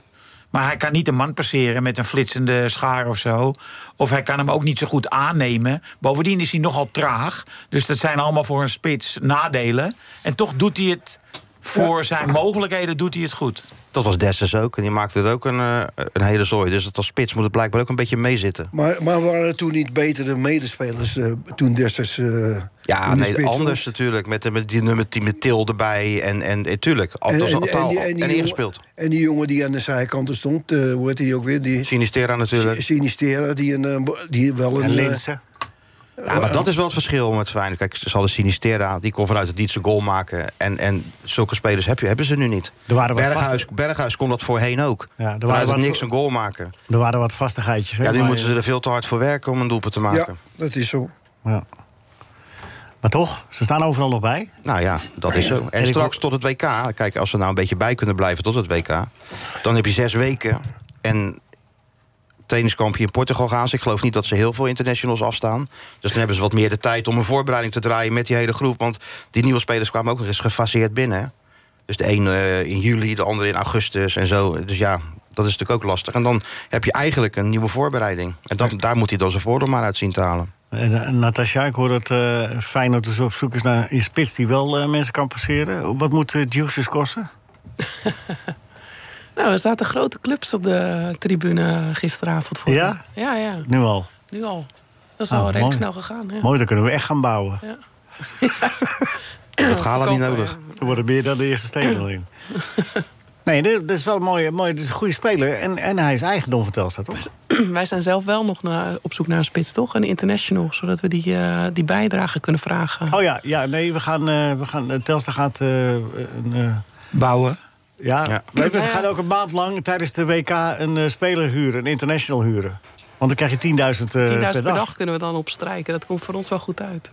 S4: Maar hij kan niet een man passeren met een flitsende schaar of zo. Of hij kan hem ook niet zo goed aannemen. Bovendien is hij nogal traag. Dus dat zijn allemaal voor een spits nadelen. En toch doet hij het Voor zijn mogelijkheden doet hij het goed.
S13: Dat was Dessers ook. En die maakte er ook een, eh, een hele zooi. Dus dat als spits moet het blijkbaar ook een beetje meezitten.
S9: Maar, maar waren er toen niet betere medespelers eh, toen destijds? eh,
S13: Ja,
S9: in de
S13: nee,
S9: spits,
S13: anders
S9: hoor?
S13: natuurlijk. Met, de- met die nummer 10 met Til erbij. En, en, en tuurlijk, dat was een taal. En,
S9: jongen-
S13: ingespeeld.
S9: en die jongen die aan de zijkanten stond, eh hoe heet die ook weer? Die,
S13: Sinistera natuurlijk.
S9: Sinistera, die, een, eh, bo- die wel een...
S13: En
S9: eh,
S13: Linssen. Ja, maar dat is wel het verschil met Zwijn. Kijk, ze hadden Sinistera, die kon vanuit het niet zijn goal maken. En, en zulke spelers heb je, hebben ze nu niet.
S3: Er waren wat
S13: Berghuis,
S3: vaste-
S13: Berghuis kon dat voorheen ook.
S3: waren
S13: vanuit het
S3: wat-
S13: niks een goal maken.
S3: Er waren wat vastigheidjes. hè,
S13: Ja, nu
S3: maar-
S13: moeten ze er veel te hard voor werken om een doelpunt te maken.
S9: Ja, dat is zo.
S3: Ja. Maar toch, ze staan overal nog bij.
S13: Nou ja, dat is zo.
S3: En
S13: En
S3: ik
S13: straks tot het WK. Kijk, als ze nou een beetje bij kunnen blijven tot het WK... dan heb je zes weken en trainingskampje in Portugal gaan ze. Ik geloof niet dat ze heel veel internationals afstaan. Dus dan hebben ze wat meer de tijd om een voorbereiding te draaien... met die hele groep, want die nieuwe spelers kwamen ook nog eens gefaseerd binnen. hè. Dus de een eh, in juli, de andere in augustus en zo. Dus ja, dat is natuurlijk ook lastig. En dan heb je eigenlijk een nieuwe voorbereiding. En dat, daar moet hij dan zijn voordeel maar uit zien te halen.
S3: En, eh, Natasja, ik hoor dat eh Feyenoord dus op zoek is naar een spits die wel eh, mensen kan passeren. Wat moet eh, Juices kosten?
S6: Nou, er zaten grote clubs op de tribune gisteravond voor.
S3: Ja?
S6: me. Ja, ja.
S3: Nu al.
S6: Nu al. Dat is
S3: Oh,
S6: al redelijk
S3: mooi.
S6: snel gegaan. Ja.
S3: Mooi, dan kunnen we echt gaan bouwen.
S6: Ja.
S13: Dat gaat niet nodig.
S3: Er worden meer dan de eerste steen al in. Nee, dit- dat is wel mooi. mooi. Dit is een goede speler. En, en hij is eigendom verteld, staat toch?
S6: Wij zijn zelf wel nog naar, op zoek naar een spits, toch? Een international, zodat we die, eh, die bijdrage kunnen vragen.
S3: Oh ja, ja nee, we gaan, eh, we gaan, eh, Telstra gaat... eh, een, eh,
S8: Bouwen.
S3: ja,
S8: Ja.
S3: Nee, maar ze
S8: Ja.
S3: gaan ook een maand lang tijdens de WK een eh, speler huren, een international huren. Want dan krijg je 10.000 eh,
S6: 10.000 per dag. kunnen we dan opstrijken. Dat komt voor ons wel goed uit.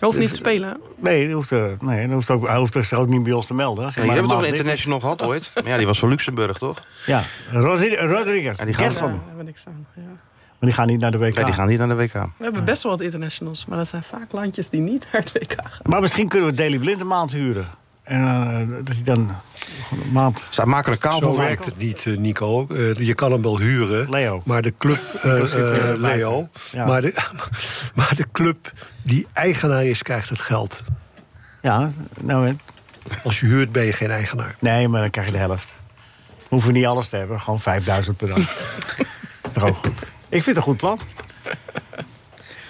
S6: Hoeft niet te spelen.
S3: Dus- Nee, hij hoeft, eh, nee hij hoeft, ook, hij hoeft zich ook niet bij ons te melden. Als hij
S13: Je
S3: maar
S13: hebt
S3: een
S13: toch een
S3: maand dit-
S13: international gehad ooit? Maar ja, die was van Luxemburg, toch?
S3: Ja, Rosi- Rodriguez.
S13: En die gaan-
S3: Gerson.
S6: Daar hebben we niks aan. Ja.
S3: Maar die gaan niet naar de WK.
S13: Nee, die gaan niet naar de WK.
S6: We hebben best wel wat internationals, maar dat zijn vaak landjes die niet naar het WK gaan.
S3: Maar misschien kunnen we Daily Blind een maand huren. En eh, dat hij dan gewoon een maand...
S13: Ze maken er kaal
S3: van
S10: Zo
S3: maken.
S10: werkt het niet, eh, Nico. Eh, je kan hem wel huren. Maar de club... eh,
S3: Nico zit, eh,
S10: eh, Leo.
S3: buiten. Ja.
S10: Maar, de, maar de club die eigenaar is, krijgt het geld.
S3: Ja, nou hè.
S10: Als je huurt, ben je geen eigenaar.
S3: Nee, maar dan krijg je de helft. Hoeven we niet alles te hebben, gewoon 5000 per dag. is toch ook goed? Ik vind het een goed plan.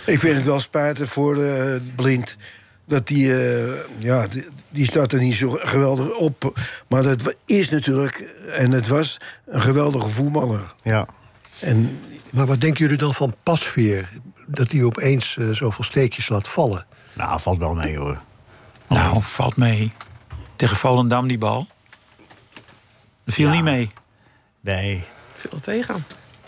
S9: Ik vind het wel spijtig voor eh, Blind. Dat die, eh, ja, die, die staat er niet zo geweldig op. Maar dat wa- is natuurlijk, en het was, een geweldige voetballer.
S3: Ja.
S9: En,
S10: maar wat denken jullie dan van Pasveer? Dat hij opeens eh, zoveel steekjes laat vallen?
S3: Nou, valt wel mee hoor.
S4: Nou, valt mee. Tegen Volendam die bal. Dat viel niet mee.
S3: Nee.
S6: Veel tegen.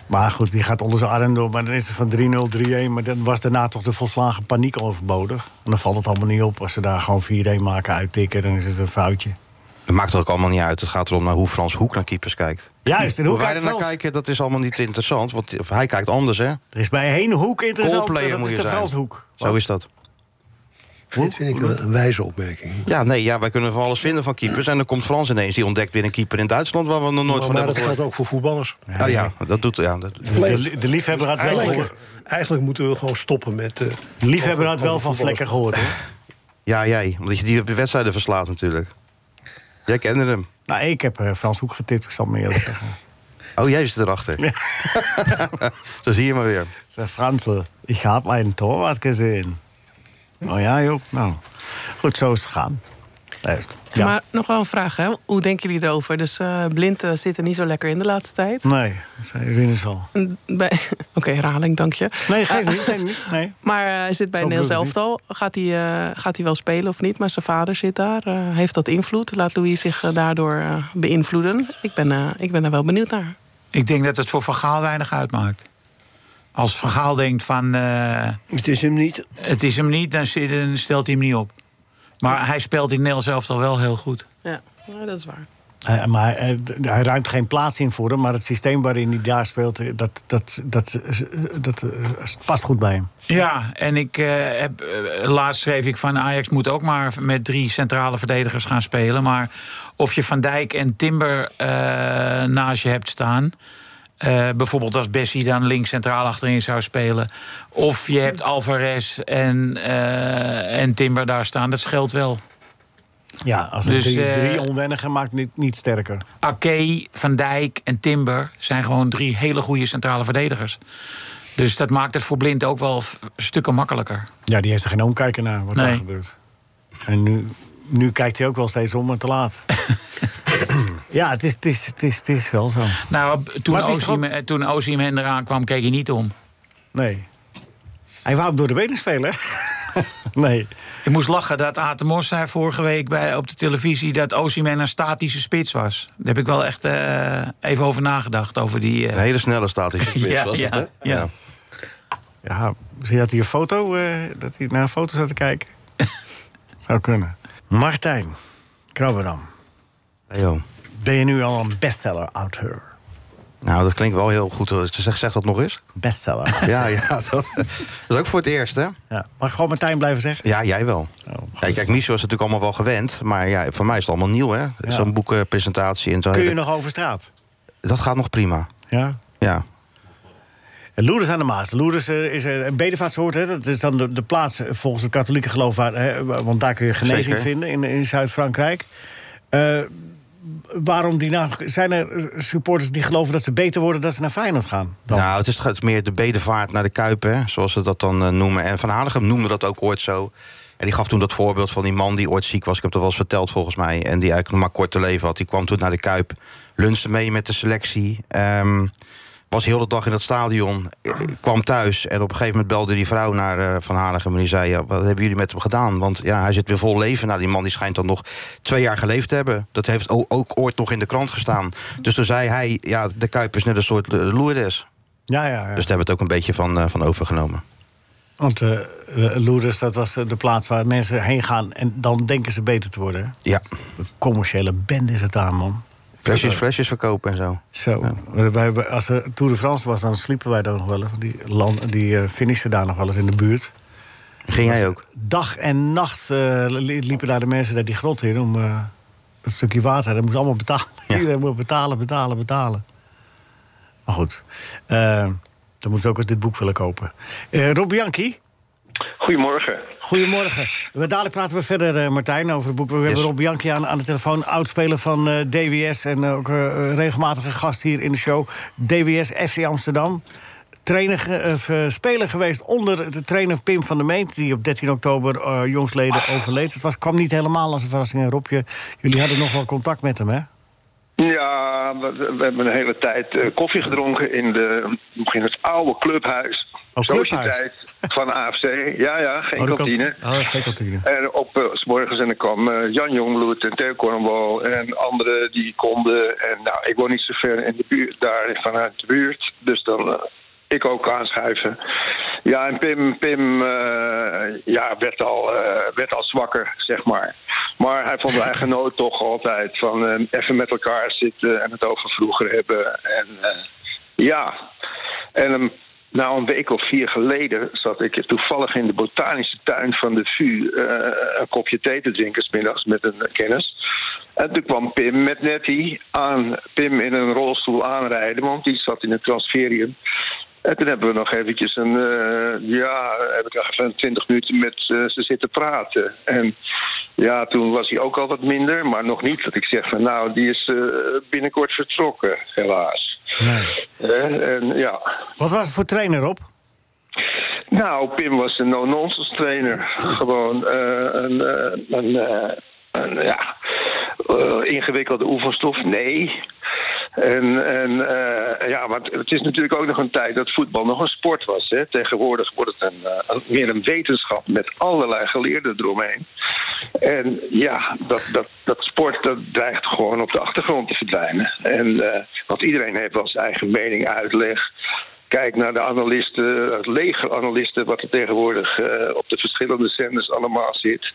S3: Maar goed, die gaat onder zijn arm door. Maar dan is het van 3-0, 3-1. Maar dan was daarna toch de volslagen paniek overbodig. En dan valt het allemaal niet op. Als ze daar gewoon 4-1 maken, uittikken, dan is het een foutje.
S13: Het maakt ook allemaal niet uit. Het gaat erom naar hoe Frans Hoek naar keepers kijkt.
S3: Juist, en hoe
S13: wij
S3: kijkt
S13: er naar
S3: Frans?
S13: kijken, dat is allemaal niet interessant. Want of hij kijkt anders, hè?
S3: Er is bij één hoek interessant.
S13: Goalplayer
S3: dat
S13: moet
S3: is
S13: je
S3: de
S13: zijn.
S3: Franshoek.
S13: Zo is dat.
S10: Dit vind ik een, een wijze opmerking.
S13: Ja, nee, ja, wij kunnen van alles vinden van keepers. En dan komt Frans ineens. Die ontdekt weer een keeper in Duitsland waar we nog nooit
S10: Maar,
S13: van
S10: maar
S13: hebben
S10: dat
S13: gehoord.
S10: geldt ook voor voetballers. Dus
S13: Ah, ja, dat doet... Ja, dat,
S3: De, de liefhebber had wel
S10: Eigenlijk, eigenlijk moeten we gewoon stoppen met... eh,
S3: De liefhebber had
S10: over-
S3: wel
S10: over
S3: van
S10: voetballers.
S3: vlekken gehoord, hoor.
S13: ja, jij. Omdat je die op de wedstrijden verslaat natuurlijk. Jij kende hem.
S3: Nou, ik heb eh, Frans Hoek getipt, ik zal het me eerlijk zeggen.
S13: Oh, jij zit erachter. Zo zie je maar weer.
S3: Zeg Fransel, ik heb een Torwart gezien. Oh ja, joh. Nou, goed, zo is het gegaan. Eh, ja.
S6: Maar nog wel een vraag, hè? Hoe denken jullie erover? Dus eh blind eh, zit er niet zo lekker in de laatste tijd.
S3: Nee, zei Rinus al.
S6: En bij- Oké, herhaling, dank je.
S3: Nee, geef
S6: Eh,
S3: niet, geef niet. Nee.
S6: Maar eh, hij zit bij
S3: Zo
S6: Nederlands
S3: bedoel ik
S6: elftal. Gaat hij, eh, gaat hij wel spelen of niet? Maar zijn vader zit daar. Eh, heeft dat invloed? Laat Louis zich eh, daardoor eh, beïnvloeden? Ik ben, eh, ik ben daar wel benieuwd naar.
S4: Ik denk dat het voor Van Gaal weinig uitmaakt. Als Van Gaal denkt van... eh,
S9: het is hem niet.
S4: Het is hem niet, dan zit- dan stelt hij hem niet op. Maar hij speelt in Nederland zelf al wel heel goed.
S6: Ja, nou, dat is waar.
S3: Eh, maar eh, d- hij ruimt geen plaats in voor hem. Maar het systeem waarin hij daar speelt, eh, dat, dat, dat, dat, eh, past goed bij hem.
S4: Ja, en ik eh, heb, eh, laatst schreef ik van Ajax moet ook maar met drie centrale verdedigers gaan spelen. Maar of je Van Dijk en Timber eh, naast je hebt staan. eh, bijvoorbeeld als Bessie dan links centraal achterin zou spelen. Of je hebt Alvarez en, eh, en Timber daar staan. Dat scheelt wel.
S3: Ja, als het
S4: Dus,
S3: drie,
S4: eh,
S3: drie onwennigen maakt niet, niet sterker.
S4: Ake, Van Dijk en Timber zijn gewoon drie hele goede centrale verdedigers. Dus dat maakt het voor Blind ook wel f- stukken makkelijker.
S3: Ja, die heeft er geen omkijken naar wat daar
S4: Nee.
S3: gebeurt. En nu, nu kijkt hij ook wel steeds om, maar te laat. ja, het is, het, is, het, is, het is wel zo.
S4: Nou, b- toen
S3: Maar het is
S4: Osimhen- eh, toen Osimhen eraan kwam, keek hij niet om.
S3: Nee. Hij wou hem door de benen spelen. nee.
S4: Ik moest lachen dat Atemos zei vorige week bij, op de televisie... dat Osimhen een statische spits was. Daar heb ik wel echt eh, even over nagedacht. Over die, eh,
S13: Een hele snelle statische spits
S4: ja,
S13: was
S4: ja,
S13: het, hè?
S4: ja.
S3: Ja, misschien had hij een foto, eh, dat hij naar een foto zat te kijken. Zou kunnen. Martijn Krabberdam.
S13: Leo.
S3: Ben je nu al een bestseller-auteur?
S13: Nou, dat klinkt wel heel goed. Zeg, zeg dat nog eens.
S3: Bestseller.
S13: Ja, ja dat, dat is ook voor het eerst, hè?
S3: Ja. Oh, Mag ik gewoon Martijn blijven zeggen?
S13: Ja, jij wel. Ja, kijk, Michel is natuurlijk allemaal wel gewend. Maar ja, voor mij is het allemaal nieuw, hè? Zo'n boekenpresentatie en zo.
S3: Kun je nog over straat?
S13: Dat gaat nog prima.
S3: Ja.
S13: Ja.
S3: En Loerders aan de Maas. Loerders eh, is een bedevaartsoord. Hè? Dat is dan de, de plaats eh, volgens het katholieke geloof. Waar, hè, want daar kun je genezing
S13: Zeker.
S3: vinden in, in Zuid-Frankrijk. Eh, waarom die nou, zijn er supporters die geloven dat ze beter worden... dat ze naar Feyenoord gaan?
S13: Nou, het is, het is meer de bedevaart naar de Kuip, hè, zoals ze dat dan eh, noemen. En Van Hanegem noemde dat ook ooit zo. En die gaf toen dat voorbeeld van die man die ooit ziek was. Ik heb dat wel eens verteld volgens mij. En die eigenlijk nog maar kort te leven had. Die kwam toen naar de Kuip, lunchte mee met de selectie. ehm, was heel de dag in dat stadion, eh, kwam thuis. En op een gegeven moment belde die vrouw naar eh, Van Hanegem. En die zei, ja, wat hebben jullie met hem gedaan? Want ja, hij zit weer vol leven. Nou, die man die schijnt dan nog twee jaar geleefd te hebben. Dat heeft o- ook ooit nog in de krant gestaan. Dus toen zei hij, ja, de Kuip is net een soort eh, Lourdes.
S3: Ja, ja, ja.
S13: Dus daar hebben we het ook een beetje van, eh, van overgenomen.
S3: Want eh eh, Loerders, dat was eh, de plaats waar mensen heen gaan... en dan denken ze beter te worden.
S13: Ja.
S3: Een commerciële bende is het aan, man.
S13: Flesjes, flesjes verkopen en zo.
S3: Zo. Wij- wij- als er Tour de France was, dan sliepen wij daar nog wel eens. Die, land, die eh, finishten daar nog wel eens in de buurt.
S13: Ging jij ook?
S3: Dag en nacht eh, li- liepen daar de mensen naar die grot in om eh dat stukje water. Dat moest allemaal betalen. Iedereen moet betalen, betalen, betalen. Maar goed, eh, dan moeten ze ook dit boek willen kopen. Eh Rob Bianchi,
S14: Goedemorgen.
S3: goedemorgen. We, dadelijk praten we verder, eh, Martijn, over het boek. We hebben Rob Bianchi aan, aan de telefoon, oudspeler van eh, DWS... en eh, ook eh, regelmatige gast hier in de show. DWS FC Amsterdam. Trainer, ge- of, eh, speler geweest onder de trainer Pim van der Meent... die op 13 oktober eh, jongsleden overleed. Het was, kwam niet helemaal als een verrassing, hè, Rob. Je- jullie hadden nog wel contact met hem, hè?
S14: Ja, we, we hebben een hele tijd eh, koffie gedronken in, de, in het oude clubhuis.
S3: Oh, clubhuis.
S14: Sociëteit van AFC. Ja, ja, geen
S3: Oh, de
S14: kantine.
S3: kant- Oh, geen kantine.
S14: En op eh, s morgens en dan kwam eh, Jan Jongloed en Theo Cornwall en anderen die konden. En nou, ik woon niet zo ver in de buurt, daar vanuit de buurt. Dus dan eh, ik ook aanschuiven. Ja, en Pim, Pim eh, ja, werd, al, eh, werd al zwakker, zeg maar. Maar hij vond hij genoot toch altijd van eh, even met elkaar zitten en het over vroeger hebben. En eh, ja, en een, nou, een week of vier geleden zat ik toevallig in de botanische tuin van de VU eh, een kopje thee te drinken, 's middags met een eh, kennis. En toen kwam Pim met Nettie aan, Pim in een rolstoel aanrijden, want die zat in het transferium. En toen hebben we nog eventjes een, eh, ja, heb ik even twintig minuten met eh, ze zitten praten. En ja, toen was hij ook al wat minder, maar nog niet dat ik zeg van nou, die is eh, binnenkort vertrokken, helaas. Eh, en ja,
S3: Wat was het voor trainer, Rob?
S14: nou, Pim was een no-nonsense trainer. Gewoon eh, een, eh, een, eh, een, ja, eh, ingewikkelde oefenstof, nee. En, en eh, ja, want het is natuurlijk ook nog een tijd dat voetbal nog een sport was. Hè. Tegenwoordig wordt het een, eh, een- meer een wetenschap met allerlei geleerden eromheen. En ja, dat, dat, dat sport dat dreigt gewoon op de achtergrond te verdwijnen. En, eh, want iedereen heeft wel zijn eigen mening, uitleg. Kijk naar de analisten, het leger analisten, wat er tegenwoordig eh, op de verschillende zenders allemaal zit.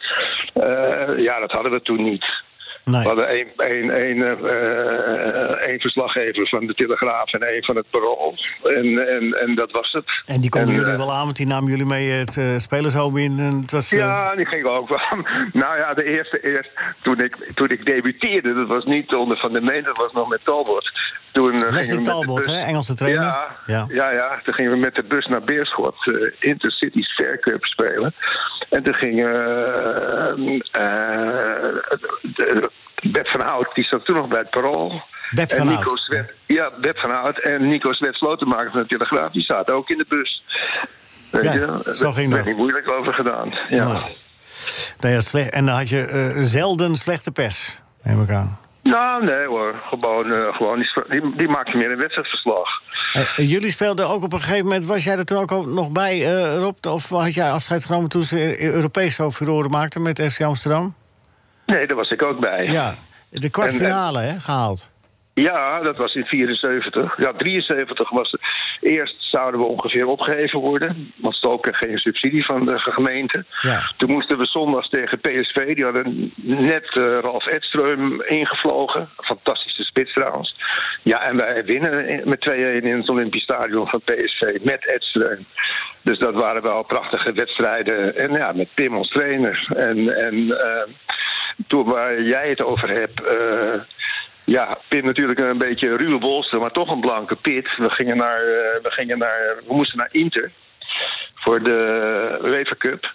S14: Eh, ja, dat hadden we toen niet. We hadden één, één, één, eh, eh, één verslaggever van de Telegraaf en één van het Parool. En, en, en dat was het.
S3: En die konden
S14: En,
S3: jullie
S14: eh,
S3: wel aan, want die namen jullie mee het eh spelershome in. En het was, eh,
S14: Ja, die ging ook wel. Nou ja, de eerste, eerst, toen, ik, toen ik debuteerde, dat was niet onder Van der Meen, dat was nog met Talbot. Toen, eh,
S3: Leslie
S14: gingen we met de
S3: Talbot,
S14: bus-
S3: hè, Engelse trainer.
S14: Ja,
S3: Ja.
S14: ja. ja, toen gingen we met de bus naar Beerschot, eh, Intercity Fair Cup spelen. En toen ging eh, eh, de- Beb van Hout, die zat toen nog bij het Parool.
S3: Beb
S14: En
S3: van
S14: Nico
S3: Hout.
S14: Zwet- ja, Beb van Hout en Nico Svet Slotenmaker van de Telegraaf, die zaten ook in de bus. Weet
S3: Ja,
S14: je?
S3: zo
S14: Daar
S3: ging dat.
S14: werd niet moeilijk over gedaan.
S3: Nou, nou ja, slecht. En dan had je eh, zelden slechte pers, neem ik aan.
S14: Nou, nee hoor. Gewoon, eh, gewoon die, die, die maakt meer een wedstrijdverslag.
S3: Eh, eh, jullie speelden ook op een gegeven moment, was jij er toen ook al nog bij, eh, Rob? Of had jij afscheid genomen toen ze eh, Europees zo furoren maakten met FC Amsterdam?
S14: Nee, daar was ik ook bij.
S3: Ja,
S14: eh,
S3: de kwartfinale hè, gehaald.
S14: Ja, dat was in 74. Ja, 73 was het. Eerst zouden we ongeveer opgeheven worden. Want Stoke kreeg geen subsidie van de gemeente.
S3: Ja.
S14: Toen moesten we zondags tegen PSV. Die hadden net eh, Ralf Edström ingevlogen. Fantastische spits trouwens. Ja, en wij winnen in- met 2-1 in het Olympisch Stadion van PSV. Met Edström. Dus dat waren wel prachtige wedstrijden. En ja, met Pim als trainer. En, en eh, toen waar jij het over hebt... eh, ja, Pim natuurlijk een beetje een ruwe bolster, maar toch een blanke pit. We gingen naar, eh, we gingen naar, we moesten naar Inter voor de UEFA Cup.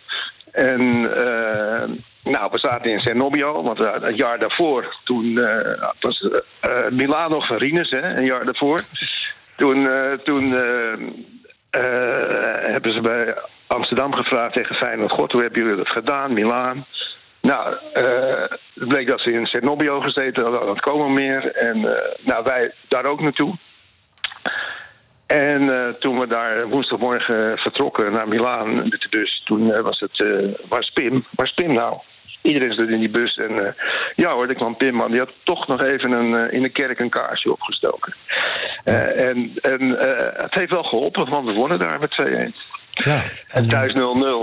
S14: En eh, nou, we zaten in Cernobio, want eh, een jaar daarvoor, toen eh, was eh Milano van Rines, hè, een jaar daarvoor. Toen, eh, toen eh, eh, hebben ze bij Amsterdam gevraagd tegen Feyenoord... God, hoe hebben jullie dat gedaan, Milaan? Nou, eh, het bleek dat ze in Cernobio gezeten hadden, dat komen meer. En eh, nou, wij daar ook naartoe. En eh, toen we daar woensdagmorgen eh, vertrokken naar Milaan met de bus... toen eh, was het, eh waar is Pim? Waar is Pim nou? Iedereen zat in die bus en eh, ja hoor, daar kwam Pim aan. Die had toch nog even een, eh, in de kerk een kaarsje opgestoken. Eh, en en eh, het heeft wel geholpen, want we wonnen daar met 2-1.
S3: Ja,
S14: En thuis 0-0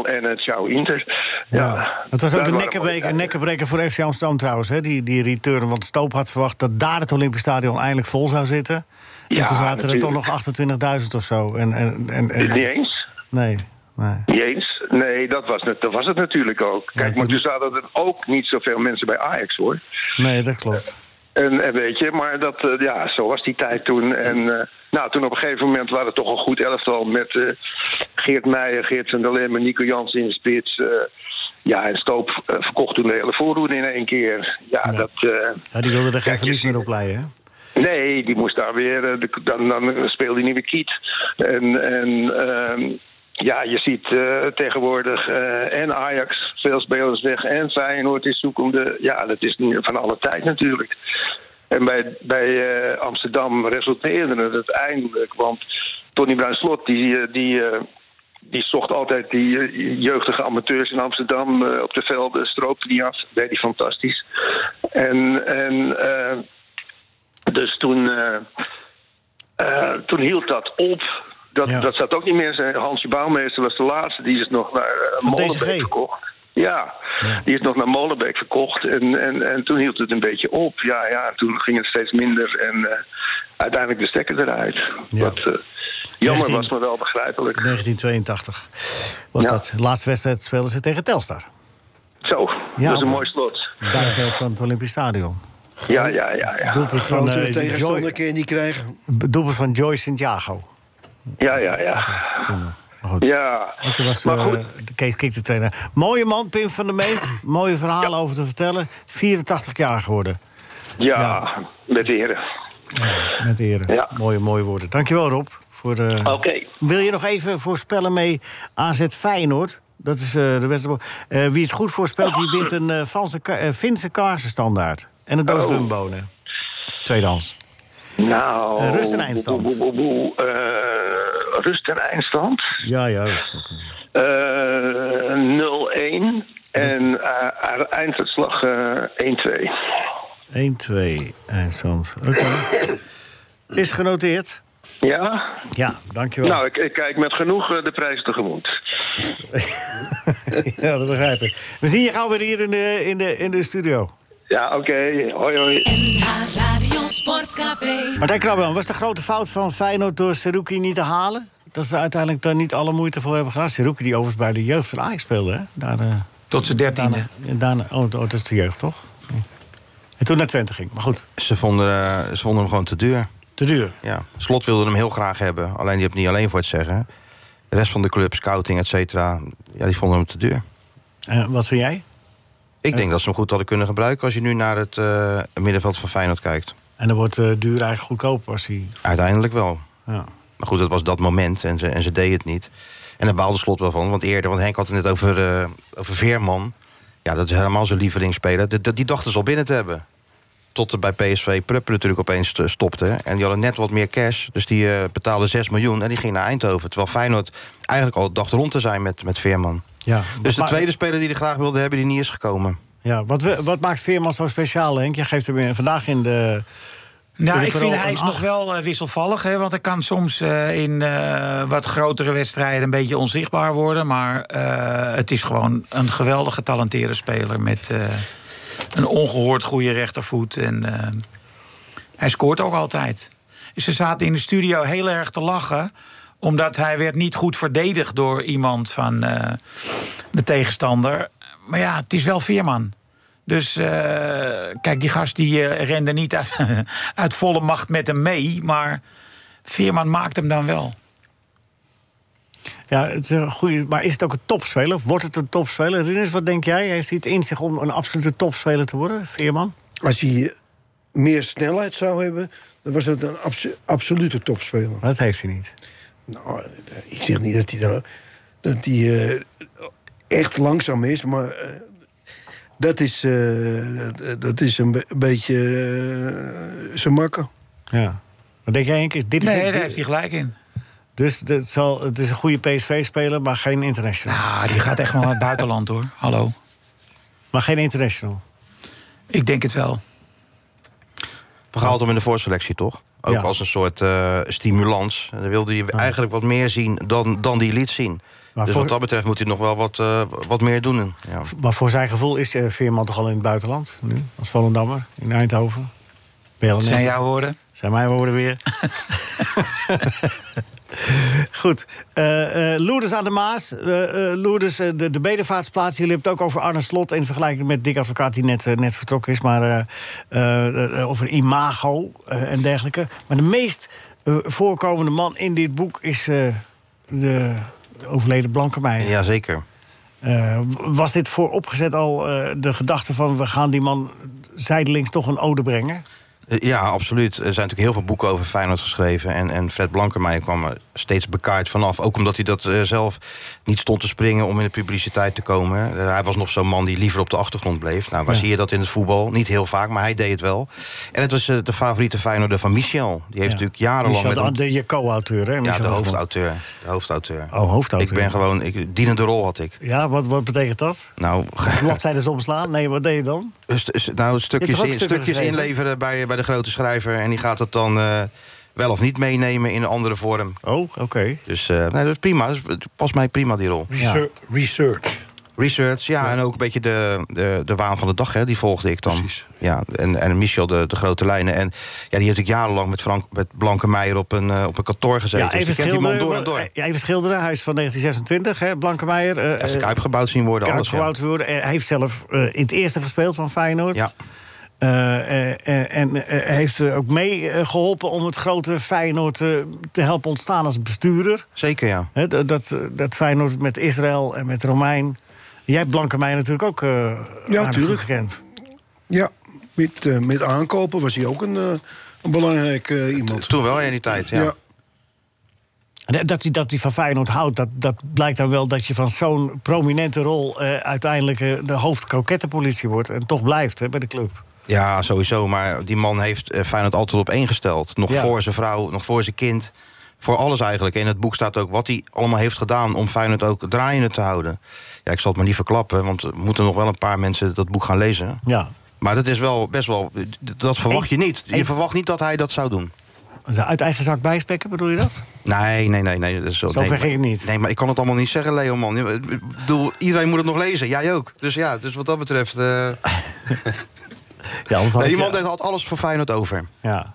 S14: en het zou Inter. Ja.
S3: Het was ook
S14: Daar
S3: de
S14: waren
S3: nekkenbreker, nekkenbreker voor FC Amsterdam trouwens, hè, die, die return. Want Stoop had verwacht dat daar het Olympisch Stadion eindelijk vol zou zitten. en
S14: Ja,
S3: toen zaten er toch nog 28.000 of zo. En, en, en, en-
S14: Niet eens.
S3: Nee.
S14: Niet eens. Nee, dat was, het, dat was het natuurlijk ook. Kijk, maar toen zaten er ook niet zoveel mensen bij Ajax hoor.
S3: nee, dat klopt.
S14: En, en weet je, maar dat, eh, ja, zo was die tijd toen. En eh, nou, toen op een gegeven moment waren het toch een goed elftal met eh, Geert Meijer, Geert van der Lem en Nico Jansen in de spits. eh. ja, en Stoop eh, verkocht toen de hele voorhoede in één keer. Ja, dat... eh,
S3: Ja, die wilden er geen verlies meer op leiden. hè?
S14: Nee, die moest daar weer. eh, de- Dan, dan speelde hij niet meer Kiet. En, en ehm, ja, je ziet eh, tegenwoordig eh, en Ajax veel spelers weg. En Feyenoord is zoekende. Ja, dat is nu van alle tijd natuurlijk. En bij, bij eh, Amsterdam resulteerde het uiteindelijk. Want Tony Bruinslot, die, eh, die, eh, die zocht altijd die eh, jeugdige amateurs in Amsterdam eh, op de velden. Stroopte die af. Deed die fantastisch. En, en eh, dus toen, eh, eh, toen hield dat op. Dat, dat zat ook niet meer. Zijn Hansje Bouwmeester was de laatste. Die is nog naar eh, Molenbeek verkocht. Ja, die is nog naar Molenbeek verkocht. En, en, en toen hield het een beetje op. Ja, ja, toen ging het steeds minder. En eh, uiteindelijk de stekker eruit. Wat eh, jammer was, maar wel begrijpelijk.
S3: 1982 was dat. Laatste wedstrijd speelden ze tegen Telstar.
S14: Zo,
S3: Ja,
S14: dat is een
S3: man.
S14: mooi slot.
S3: Bijveld van het Olympisch Stadion.
S14: Ja, ja, ja. ja.
S3: Doelpunt van,
S9: Grotere
S3: eh,
S9: tegenstander
S3: Joy-
S9: kun je niet krijgen.
S3: Doelpunt van Joy Santiago.
S14: Ja, ja, ja. Ja,
S3: En toen was
S14: maar
S3: eh,
S14: goed.
S3: de Kees Kik de trainer. Mooie man, Pim van der Meet. Mooie verhalen over te vertellen. 84 jaar geworden.
S14: Ja, met de heren.
S3: Met ere. Mooie, mooie woorden. Dankjewel, Rob. Voor, eh,
S14: Oké.
S3: Wil je nog even voorspellen mee AZ Feyenoord? Dat is eh, de wedstrijd. Eh, wie het goed voorspelt, die wint een eh Franse ka- eh, Finse kaarsen standaard. En een doos
S14: Oh.
S3: gumbonen. Tweedans.
S14: Nou,
S3: Eh, rust en eindstand.
S14: boe, boe, boe, boe. Eh, rust en eindstand.
S3: Ja, juist.
S14: Eh, 0-1. En eh, einduitslag eh, 1-2.
S3: 1, 2, eindstand. eh, Oké. Is genoteerd.
S14: Ja?
S3: Ja, dankjewel.
S14: Nou, ik, ik kijk met genoeg eh, de prijs tegemoet.
S3: ja, dat begrijp ik. We zien je gauw weer hier in de, in de, in de studio.
S14: Ja, oké. Hoi, hoi.
S1: Radio Sportcafé.
S3: Martijn Krabbelan, was de grote fout van Feyenoord door Seruki niet te halen? Dat ze uiteindelijk daar niet alle moeite voor hebben gedaan. Seruki die overigens bij de jeugd van Ajax speelde, hè? Daar, eh,
S4: Tot zijn dertiende.
S3: daarna, oh, oh, dat is de jeugd, toch? En toen naar Twente ging, maar goed.
S13: Ze vonden, eh, ze vonden hem gewoon te duur.
S3: Te duur?
S13: Ja. Slot wilde hem heel graag hebben. Alleen die heeft het niet alleen voor het zeggen. De rest van de club, scouting, et cetera... Ja, die vonden hem te duur.
S3: Eh, wat vind jij?
S13: Ik denk dat ze hem goed hadden kunnen gebruiken... als je nu naar het eh, middenveld van Feyenoord kijkt.
S3: En dan wordt eh, duur eigenlijk goedkoop als hij...
S13: Uiteindelijk wel.
S3: Ja.
S13: Maar goed, dat was dat moment en ze, en ze deed het niet. En daar baalde Slot wel van. Want eerder, want Henk had het net over, eh, over Veerman. Ja, dat is helemaal zijn lievelingsspeler. Die, die dachten ze al binnen te hebben. Tot er bij PSV Pruppen natuurlijk opeens eh, stopte. En die hadden net wat meer cash. Dus die eh, betaalde 6 miljoen en die ging naar Eindhoven. Terwijl Feyenoord eigenlijk al dacht rond te zijn met, met Veerman.
S3: Ja,
S13: Dus de
S3: maar-
S13: tweede speler die er graag wilde hebben, die niet is gekomen.
S3: Ja, wat, we- wat maakt Veerman zo speciaal, Henk? Jij geeft hem in- vandaag in de...
S4: Nou,
S3: in de
S4: ik
S3: Ah,
S4: vind
S3: parool
S4: hij
S3: een
S4: is nog
S3: acht.
S4: wel eh, wisselvallig. Hè, want hij kan soms eh, in eh, wat grotere wedstrijden een beetje onzichtbaar worden. Maar eh, het is gewoon een geweldig getalenteerde speler. Met eh, een ongehoord goede rechtervoet. En eh, hij scoort ook altijd. Ze zaten in de studio heel erg te lachen omdat hij werd niet goed verdedigd door iemand van eh, de tegenstander. Maar ja, het is wel Veerman. Dus eh, kijk, die gast die eh, rende niet uit, uit volle macht met hem mee. Maar Veerman maakt hem dan wel.
S3: Ja, het is een goede, maar is het ook een topspeler? Of Wordt het een topspeler? Rinus, wat denk jij? Heeft hij het in zich om een absolute topspeler te worden, Veerman?
S9: Als hij meer snelheid zou hebben, dan was het een abso- absolute topspeler. Maar
S3: dat heeft hij niet.
S9: Nou, ik zeg niet dat hij, dan, dat hij eh, echt langzaam is, maar eh, dat, is, eh, dat, dat is een be- beetje eh, zijn makker.
S3: Ja. Wat denk jij, Henk? Is, dit is
S4: Nee, daar heeft hij gelijk in.
S3: Dus het, zal, het is een goede PSV-speler, maar geen international.
S4: Ah, die gaat echt wel naar het buitenland hoor. Hallo.
S3: Maar geen international.
S4: Ik denk het wel.
S13: We haalden hem in de voorselectie, toch? Ook
S3: Oh. Ja.
S13: als een soort eh, stimulans. En dan wilde hij eigenlijk wat meer zien dan, dan die liet zien. dus
S3: voor-
S13: wat dat betreft moet hij nog wel wat, eh, wat meer doen. Ja.
S3: Maar voor zijn gevoel is eh, Veerman toch al in het buitenland nu? Als Volendammer, in Eindhoven. Ben je al net-
S4: Zijn jouw woorden?
S3: Zijn mijn woorden weer. Goed. Eh eh, Lourdes aan de Maas. Eh, eh, Lourdes, eh, de, de bedevaartsplaats. Jullie hebben het ook over Arne Slot... in vergelijking met Dick Advocaat, die net, eh, net vertrokken is. Maar eh, eh, eh, over imago eh, en dergelijke. Maar de meest eh, voorkomende man in dit boek... is eh, de overleden Blanke Meijer.
S13: Jazeker.
S3: Eh, was dit vooropgezet al eh, de gedachte van... we gaan die man zijdelings toch een ode brengen?
S13: Eh, Ja, absoluut. Er zijn natuurlijk heel veel boeken over Feyenoord geschreven. En, en Fred Blankenmeijer kwam er steeds bekaaid vanaf. Ook omdat hij dat eh, zelf niet stond te springen om in de publiciteit te komen. Eh, hij was nog zo'n man die liever op de achtergrond bleef. Nou, waar
S15: Ja.
S13: zie je dat in het voetbal? Niet heel vaak, maar hij deed het wel. En het was eh, de favoriete Feyenoorder van Michel. Die heeft natuurlijk jarenlang...
S3: Michel,
S13: met
S3: de,
S13: hem-
S3: de, je co-auteur, hè?
S13: Ja,
S3: Michel
S13: de
S3: Hoogman.
S13: hoofdauteur. De hoofdauteur.
S3: Oh, hoofdauteur.
S13: Ik ben gewoon... Ik, dienende rol had ik.
S3: Ja, wat, wat betekent dat?
S13: Nou,
S3: Bladzijden omslaan? Nee, wat deed je dan?
S13: st- st- nou
S3: Je
S13: stukjes,
S3: hebt toch ook
S13: in-
S3: stukken
S13: stukjes
S3: geschreven?
S13: inleveren bij, bij de grote schrijver. En die gaat het dan eh, wel of niet meenemen in een andere vorm.
S3: Oh, oké.
S13: Dus eh, nee, dat is prima. Dat is- het past mij prima, die rol.
S10: Research. Research.
S13: Research, ja, en ook een beetje de, de, de waan van de dag, hè, die volgde ik dan. Ja, en, en Michel de, de grote lijnen. En ja, die heeft ik jarenlang met, Frank, met Blankenmeijer op een, eh, op een kantoor gezeten.
S3: Ja, even
S13: dus die kent die man door en
S3: schilderen.
S13: door.
S3: Ja, even schilderen. Hij is van 1926, hè? Blankemeijer. eh,
S13: Heeft de
S3: eh,
S13: Kuip gebouwd zien worden,
S3: Kuip
S13: alles. ja.
S3: gebouwd worden. Eh, Hij heeft zelf eh, in het eerste gespeeld van Feyenoord.
S13: Ja.
S3: Eh, eh, en eh, heeft eh, ook mee eh, geholpen om het grote Feyenoord eh, te helpen ontstaan als bestuurder.
S13: Zeker, ja.
S3: Hè, dat, dat, eh, dat Feyenoord met Israël en met Romein. Jij hebt Blankemeijer natuurlijk ook eh ja,
S9: tuurlijk.
S3: gekend.
S9: Ja, met, eh, met aankopen was hij ook een, eh, een belangrijk eh, iemand.
S13: Toen wel, in die tijd, ja.
S3: En eh, Dat hij, dat hij van Feyenoord houdt, dat, dat blijkt dan wel dat je van zo'n prominente rol eh, uiteindelijk eh, de hoofdkokettenpolitie wordt. En toch blijft hè, bij de club.
S13: Ja, sowieso. Maar die man heeft eh, Feyenoord altijd op één gesteld. Nog
S3: Ja.
S13: voor zijn vrouw, nog voor zijn kind. Voor alles eigenlijk. En in het boek staat ook wat hij allemaal heeft gedaan... om Feyenoord ook draaiende te houden. Ja, ik zal het maar niet verklappen... want er moeten nog wel een paar mensen dat boek gaan lezen.
S3: Ja.
S13: Maar dat is wel best wel... Dat verwacht je niet. Je verwacht niet dat hij dat zou doen.
S3: Uit eigen zak bijspekken, bedoel je dat?
S13: Nee, nee, nee. nee dat is zo
S3: Zover
S13: nee,
S3: ging het
S13: niet. Nee, maar ik kan het allemaal niet zeggen, Leo, man. Ik bedoel, iedereen moet het nog lezen. Jij ook. Dus ja, dus wat dat betreft... eh,
S3: Ja, anders had
S13: nee,
S3: ik-
S13: die man had alles voor Feyenoord over.
S3: Ja.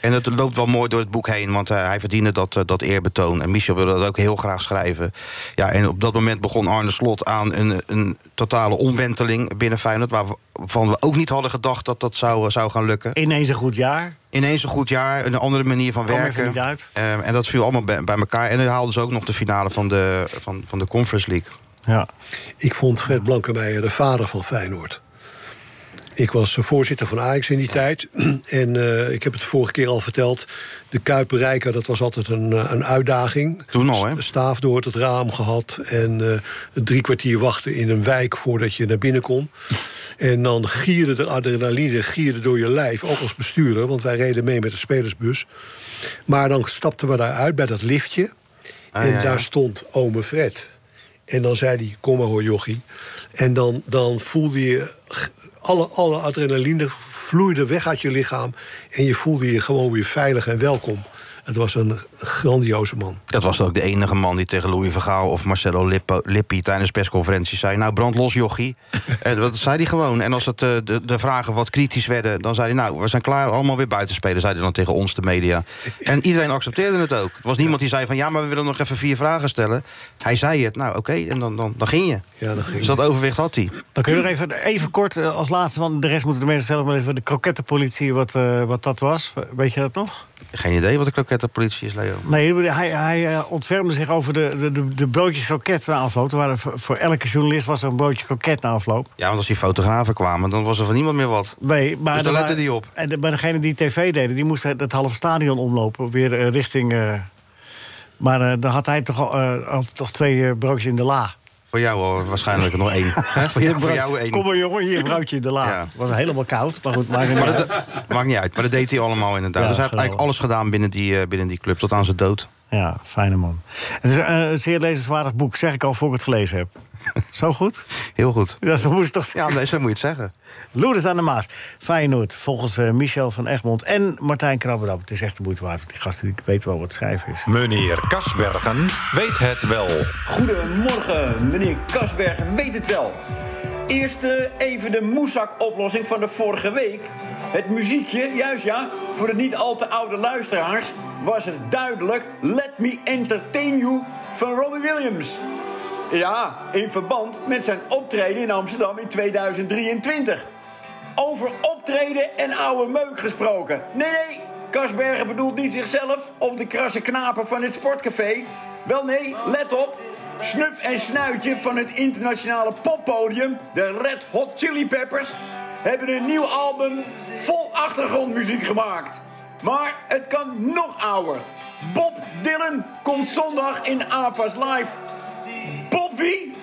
S13: En het loopt wel mooi door het boek heen, want eh, hij verdiende dat, eh, dat eerbetoon. En Michel wilde dat ook heel graag schrijven. Ja, en op dat moment begon Arne Slot aan een, een totale omwenteling binnen Feyenoord... waarvan we ook niet hadden gedacht dat dat zou, eh, zou gaan lukken.
S3: Ineens een goed jaar.
S13: Ineens een goed jaar, een andere manier van
S3: Kwam even
S13: werken.
S3: niet uit.
S13: Eh, en dat viel allemaal bij, bij elkaar. En dan haalden ze ook nog de finale van de, van, van de Conference League.
S3: Ja.
S10: Ik vond Fred Blankemeijer de vader van Feyenoord. Ik was voorzitter van Ajax in die tijd. En eh, ik heb het de vorige keer al verteld. De Kuiper Rijker, dat was altijd een, eh, een uitdaging.
S13: Toen al, hè?
S10: St- Staaf door het raam gehad. En eh, drie kwartier wachten in een wijk voordat je naar binnen kon. En dan gierde de adrenaline gierde door je lijf, ook als bestuurder. Want wij reden mee met de spelersbus. Maar dan stapten we daaruit bij dat liftje.
S13: Ah,
S10: en
S13: ja, ja.
S10: daar stond ome Fred. En dan zei hij, kom maar hoor jochie. En dan, dan voelde je... g- Alle, alle adrenaline vloeide weg uit je lichaam. En je voelde je gewoon weer veilig en welkom. Het was een grandioze man.
S13: Dat was ook de enige man die tegen Louis Vergaal of Marcelo Lippo, Lippi tijdens persconferenties zei: Nou, brand los, jochie. en dat zei hij gewoon. En als het, eh, de, de vragen wat kritisch werden, dan zei hij: Nou, we zijn klaar, allemaal weer buitenspelen, zei hij dan tegen ons, de media. En iedereen accepteerde het ook. Er was niemand die zei: van ja, maar we willen nog even vier vragen stellen. Hij zei het, nou oké, en dan, dan, dan ging je.
S10: Ja, dan ging
S13: dus dat overwicht had hij.
S3: Dan kunnen we nog even, even kort eh, als laatste, want de rest moeten de mensen zelf maar even de krokettenpolitie, wat, eh, wat dat was. Weet je dat nog?
S13: Geen idee wat de krokettenpolitie is, Leo.
S3: Nee, hij, hij eh, ontfermde zich over de, de, de, de broodjes kroket na afloop. Er waren voor, voor elke journalist was er een broodje kroket na afloop.
S13: Ja, want als die fotografen kwamen, dan was er van niemand meer wat.
S3: Nee, maar
S13: Dus daar
S3: er
S13: lette
S3: waren-
S13: die op.
S3: En de, maar degene die tv deden, die moesten het halve stadion omlopen. Weer eh, richting... eh, maar eh, dan had hij toch, al, eh, had toch twee eh, broodjes in de la.
S13: Voor jou al waarschijnlijk nog één. Hè? voor, jou, voor jou één.
S3: Kom maar jongen, hier een broodje in de la. Was helemaal koud, maar goed. Maar
S13: Maar dat, maakt niet uit, maar dat deed hij allemaal inderdaad.
S3: Ja,
S13: dus hij heeft eigenlijk alles gedaan binnen die, eh, binnen die club, tot aan zijn dood.
S3: Ja, fijne man. Het is eh, een zeer lezenswaardig boek, zeg ik al voor ik het gelezen heb. Zo goed?
S13: Heel goed.
S3: Ja, zo moest het toch zeggen?
S13: Ja, nee, zo moet je het zeggen.
S3: Loerders aan de Maas. Feyenoord, volgens eh, Michel van Egmond en Martijn Krabberdam. Het is echt de moeite waard, want die gasten die weten wel wat schrijven is.
S11: Meneer Kasbergen weet het wel.
S15: Goedemorgen, meneer Kasberg weet het wel. Eerst eh, even de moesak-oplossing van de vorige week. Het muziekje, juist ja, voor de niet al te oude luisteraars... was het duidelijk Let Me Entertain You van Robbie Williams. Ja, in verband met zijn optreden in Amsterdam in 2023. Over optreden en oude meuk gesproken. Nee, nee, Kasbergen bedoelt niet zichzelf of de krasse knapen van het sportcafé. Wel nee, let op. Snuf en snuitje van het internationale poppodium, de Red Hot Chili Peppers, hebben een nieuw album vol achtergrondmuziek gemaakt. Maar het kan nog ouder. Bob Dylan komt zondag in Avas Live. Bob wie?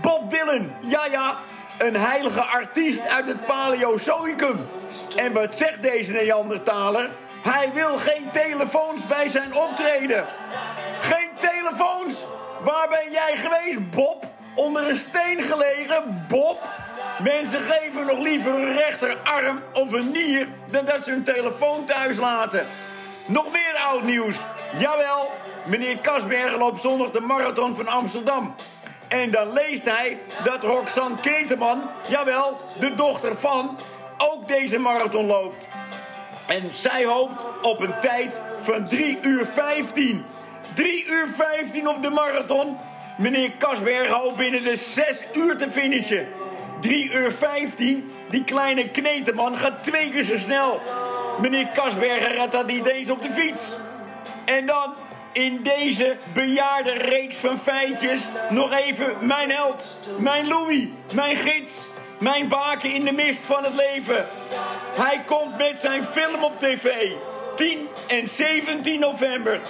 S15: Bob Dylan, ja ja, een heilige artiest uit het Paleozoïcum. En wat zegt deze Neandertaler? Hij wil geen telefoons bij zijn optreden. Geen telefoons! Waar ben jij geweest, Bob? Onder een steen gelegen, Bob? Mensen geven nog liever een rechterarm of een nier dan dat ze hun telefoon thuis laten. Nog meer oud nieuws. Jawel, meneer Kasbergen loopt zondag de marathon van Amsterdam. En dan leest hij dat Roxanne Keteman, jawel, de dochter van, ook deze marathon loopt. En zij hoopt op een tijd van 3 uur 15. 3 uur 15 op de marathon. Meneer Kasberg hoopt binnen de 6 uur te finishen. 3 uur 15. Die kleine kneteman gaat twee keer zo snel. Meneer Kasberger had dat niet eens op de fiets. En dan in deze bejaarde reeks van feitjes nog even mijn held, mijn Louis, mijn gids, mijn baken in de mist van het leven. Hij komt met zijn film op tv, 10 en 17 november.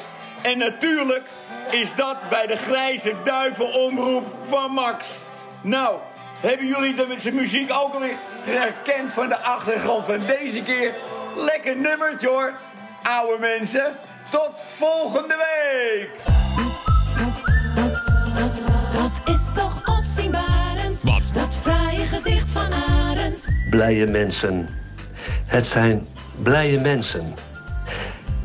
S15: En natuurlijk is dat bij de grijze duivenomroep van Max. Nou, hebben jullie de met zijn muziek ook alweer herkend van de achtergrond van deze keer? Lekker nummertje hoor, oude mensen. Tot volgende week!
S1: Dat is toch opzienbarend. Wat? Dat fraaie gedicht van Arend.
S16: blije mensen. Het zijn blije mensen.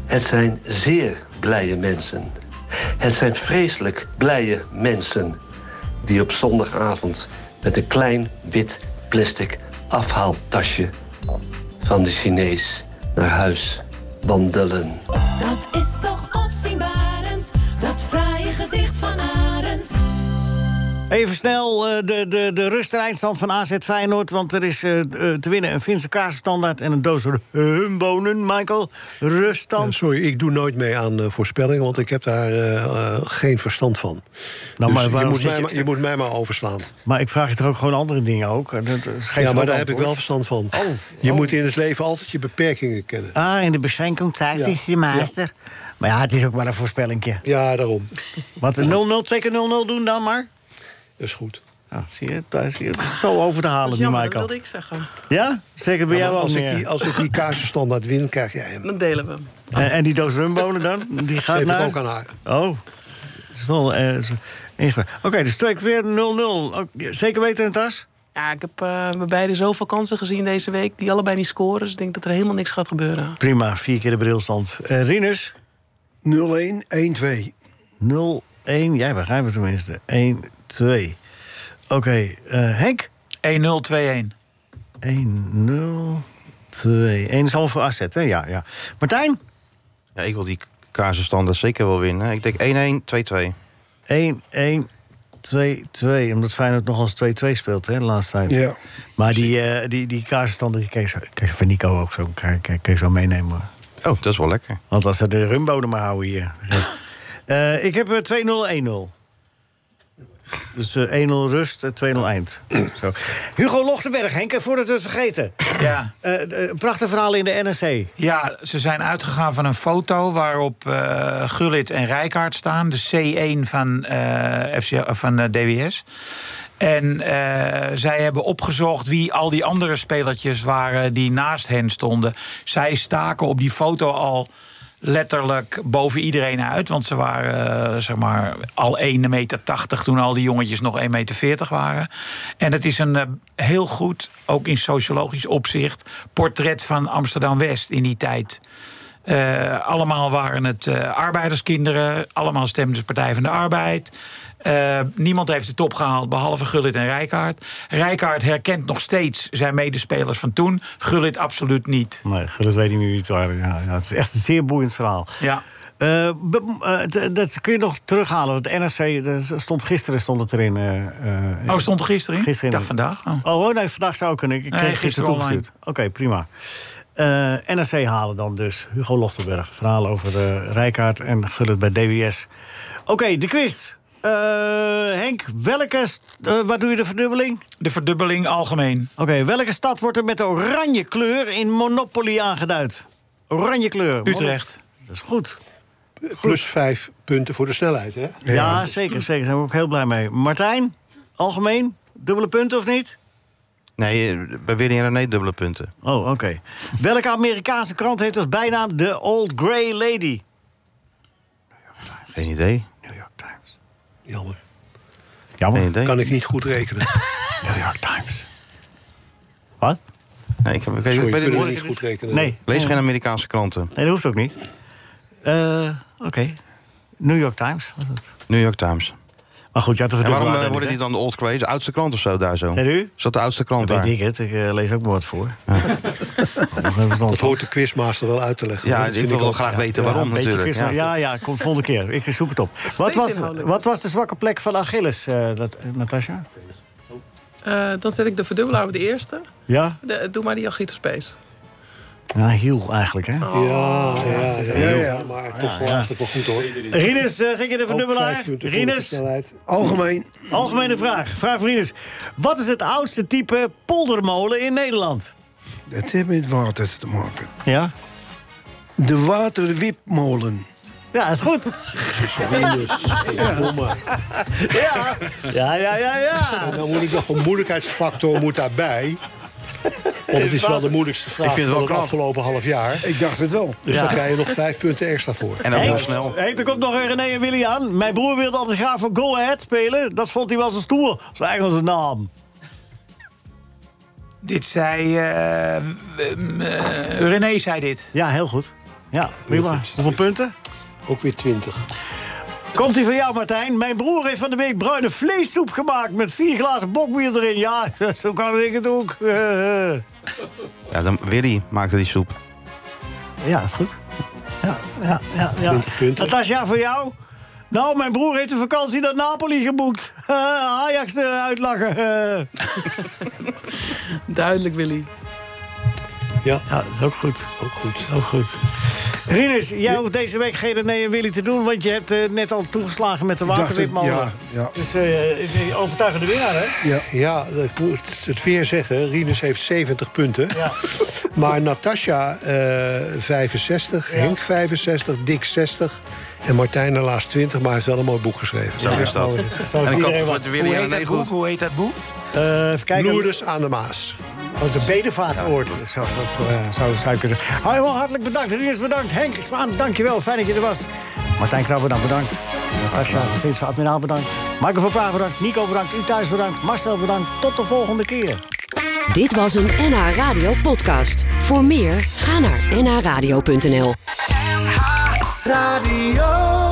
S16: Het zijn zeer blije mensen. Het zijn vreselijk blije mensen die op zondagavond met een klein wit plastic afhaaltasje van de Chinees naar huis wandelen.
S1: Dat is toch opzienbarend, dat fraaie gedicht van Arend.
S3: Even snel eh, de, de, de rust- en eindstand van AZ Feyenoord. Want er is eh, eh, te winnen een Finse kaasstandaard en een doos humbonen. Michael, ruststand.
S10: sorry, ik doe nooit mee aan eh, voorspellingen, want ik heb daar eh, eh, geen verstand van.
S3: Nou, maar
S10: Dus je,
S3: waarom
S10: moet
S3: zit
S10: mij,
S3: je-
S10: maar- je moet mij maar overslaan.
S3: Maar ik vraag je toch ook gewoon andere dingen ook. Dat- Dat geeft
S10: ja, maar
S3: ook
S10: daar heb ik
S3: antwoord.
S10: wel verstand van.
S3: Oh,
S10: Je moet in het leven altijd je beperkingen kennen.
S3: Ah, in de beschenking tijd
S10: Ja.
S3: is je meester. Maar ja, het is ook maar een voorspellingje.
S10: Ja, daarom.
S3: Wat een 0-0, twee keer 0-0 doen dan maar.
S10: Dat is goed.
S3: Ah, zie je, daar is je zo over te
S6: Dat
S3: halen,
S6: is
S3: die
S6: jammer, dat
S3: Michael.
S6: wilde ik zeggen.
S3: Ja? Zeker bij
S10: Ja, maar
S3: jou ook
S10: als ik
S3: meer.
S10: die- als ik die kaarsenstandaard win, krijg jij hem.
S6: Dan delen we hem.
S3: En, en die doos rumbonen dan? Die gaat
S10: Geef ik
S3: naar...
S10: ook aan haar.
S3: Oh, dat is wel eh, zo- ingewikkeld. Oké, dus twee keer weer 0-0. Ook- Zeker weten in tas?
S6: Ja, ik heb eh bij beide zoveel kansen gezien deze week... die allebei niet scoren, dus ik denk dat er helemaal niks gaat gebeuren.
S3: Prima, vier keer de brilstand. Eh Rinus? 0-1, 1-2. 0-1, jij begrijpt het tenminste. 1-2. Oké, eh, Henk? 1-0, 2-1. 1-0, 2-1. is allemaal voor asset, hè? Ja, ja. Martijn?
S13: Ja, ik wil die kazenstandaard zeker wel winnen. Ik denk 1-1, 2-2.
S3: 1-1, 2-2. Omdat Feyenoord nog als 2-2 speelt hè, de laatste tijd.
S13: Ja.
S3: Maar die, eh die, die kaarsenstanden, die Kees, Kees van Nico ook zo, kan, kan, kan je zo meenemen. hoor.
S13: Oh, dat is wel lekker.
S3: Want als ze de rumboden maar houden hier. Eh, ik heb eh, 2-0, 1-0. Dus eh, 1-0 rust, eh, 2-0 eind. Zo. Hugo Lochtenberg, Henk, eh, voordat we het vergeten. Eh,
S4: Ja.
S3: prachtig verhaal in de NRC.
S4: Ja, ze zijn uitgegaan van een foto waarop eh Gullit en Rijkaard staan. De C1 van, eh, FC, eh, van eh, DWS. En eh, zij hebben opgezocht wie al die andere spelertjes waren die naast hen stonden. Zij staken op die foto al letterlijk boven iedereen uit. Want ze waren eh, zeg maar al 1,80 meter toen al die jongetjes nog 1,40 meter waren. En het is een eh, heel goed, ook in sociologisch opzicht, portret van Amsterdam-West in die tijd. Eh, allemaal waren het eh, arbeiderskinderen. Allemaal stemden ze Partij van de Arbeid. Eh, niemand heeft de top gehaald, behalve Gullit en Rijkaard. Rijkaard herkent nog steeds zijn medespelers van toen. Gullit absoluut niet.
S3: Nee, dat weet ik niet wie het waren. Ja, ja, het is echt een zeer boeiend verhaal.
S4: Ja.
S3: Eh, be- eh, d- dat kun je nog terughalen, want NRC er eh, stond gisteren stond het erin. eh, eh,
S4: Oh, stond er gisteren in?
S3: Gisteren
S4: Ik dacht vandaag.
S3: Oh, oh, nee, vandaag zou kunnen. Ik ik
S4: Ah. Nee,
S3: kreeg gisteren
S4: gisteren online.
S3: toegestuurd. Oké, prima. Eh, NRC halen dan dus. Hugo Lochtenberg. Verhaal over eh Rijkaard en Gullit bij DWS. Oké, de quiz. Eh, Henk, welke... st- eh, wat doe je de verdubbeling?
S4: De verdubbeling algemeen.
S3: Oké, welke stad wordt er met de oranje kleur in Monopoly aangeduid? Oranje kleur.
S4: Utrecht.
S3: Dat is goed.
S10: Plus vijf punten voor de snelheid, hè?
S3: Ja, zeker, zeker. Daar zijn we ook heel blij mee. Martijn, algemeen, dubbele punten of niet?
S13: Nee, eh, bij Willy en René dubbele punten.
S3: Oh, oké. Welke Amerikaanse krant heeft als bijnaam de Old Grey Lady?
S13: Geen idee.
S10: Jammer.
S3: Jammer.
S13: Geen idee.
S10: Kan ik niet goed rekenen.
S3: New York Times. Wat?
S13: Nee, ik heb ik,
S10: Sorry,
S13: ik ben
S10: kunnen we
S13: ik-
S10: niet goed rekenen.
S3: Nee.
S13: Lees geen Amerikaanse kranten.
S3: Nee, dat hoeft ook niet. Eh, oké. New York Times. was het.
S13: New York Times.
S3: Maar goed, ja, te
S13: En waarom
S3: verdubbelen.
S13: eh, wordt het niet dan de Old Grey? De oudste krant of zo daar zo?
S3: En u?
S13: Is dat de oudste krant
S3: Dat
S13: daar?
S3: weet ik het. Ik eh, lees ook maar wat voor.
S10: Dat hoort de quizmaster wel uit te leggen.
S13: Ja,
S10: hoor.
S13: ik
S10: Dat vind
S13: wil wel
S10: ook-
S13: graag
S10: ja.
S13: weten
S10: Ja,
S13: waarom
S10: een beetje
S13: natuurlijk,
S10: quizma-
S3: Ja, ja, komt volgende keer. Ik zoek het op. Wat was,
S6: inhoudelijk.
S3: wat was de zwakke plek van Achilles, eh, dat, eh, Natasja?
S6: Eh, dan zet ik de verdubbelaar op de eerste.
S3: Ja?
S6: De- doe maar die Agito Space.
S3: Ja, Nou, hiel eigenlijk, hè?
S10: Oh, Ja, ja, ja, ja, ja, maar toch
S3: Ja,
S10: wel
S3: ja.
S10: hartstikke goed hoor.
S3: Rinus, eh, zet je de
S10: Ook
S3: verdubbelaar?
S10: vijf punten voor de
S3: Rinus?
S10: snelheid.
S9: Algemeen.
S3: Algemene vraag. Vraag voor Rinus. Wat is het oudste type poldermolen in Nederland?
S9: Dat heeft met water te maken.
S3: Ja?
S9: De waterwipmolen.
S3: Ja, is goed.
S10: dus.
S3: Ja, ja, ja, ja. ja.
S10: En dan Nou, moet ik nog een moeilijkheidsfactor moet daarbij. Want het is wel de moeilijkste vraag
S13: Ik vind het wel
S10: van het
S13: knap.
S10: afgelopen half jaar.
S9: Ik dacht het wel.
S10: Dus
S3: Ja.
S10: dan krijg je nog vijf punten extra voor.
S13: En ook heel
S3: Henk,
S13: snel.
S3: Henk, er komt nog een René en Willy aan. Mijn broer wilde altijd graag voor Go Ahead spelen. Dat vond hij wel zo stoer. Zijn Engelse naam.
S4: Dit zei... eh, ehm, eh, René zei dit.
S3: Ja, heel goed. Ja, prima. Hoeveel punten?
S10: Ook weer twintig.
S3: Oké, Komt die van jou, Martijn? Mijn broer heeft van de week bruine vleessoep gemaakt met vier glazen bokbier erin. Ja, zo kan ik het ook.
S13: Ja, dan Willy maakte die soep.
S3: Ja, is goed. Ja, ja, ja.
S13: 20 punten.
S3: Natasja, voor jou? Nou, mijn broer heeft een vakantie naar Napoli geboekt. Ajax eh, uitlachen.
S6: Duidelijk, Willy.
S3: Ja. dat is ook goed. Ook goed. Ook goed. Rinus, jij hoeft deze week geen nee en Willy te doen... want je hebt eh, net al toegeslagen met de
S9: Ik dacht het,
S3: waterwipmolen.
S9: ja, ja.
S3: Dus eh overtuigende winnaar, hè?
S10: Ja, ja ik moet het weer zeggen. Rinus heeft 70 punten. Maar Natasja eh, 65, Henk 65, Dick 60... en Martijn helaas 20, maar hij heeft wel een mooi boek geschreven.
S8: Zo is dat.
S10: Zo is
S8: en ik hoop
S10: iedereen
S8: voor
S10: wat.
S8: de Willy
S10: Hoe
S8: en
S10: heet
S8: René
S10: dat boek?
S8: Goed. Hoe heet dat boek?
S3: Eh, even kijken.
S10: Loerders aan de Maas.
S3: Dat is een bedevaartsoord. Zou, dat, eh, zou, zou ik kunnen zeggen. Hoi, wel hartelijk bedankt. Rinus, bedankt. Henk Spaan, dankjewel. Fijn dat je er was. Martijn Krabbe, dan bedankt. Natasja, Vins van Admiraal, bedankt. Michael van Praag, bedankt. Nico, bedankt. U thuis, bedankt. Marcel, bedankt. Tot de volgende keer.
S17: Dit was een NH Radio podcast. Voor meer, ga naar nhradio.nl.
S1: Radio.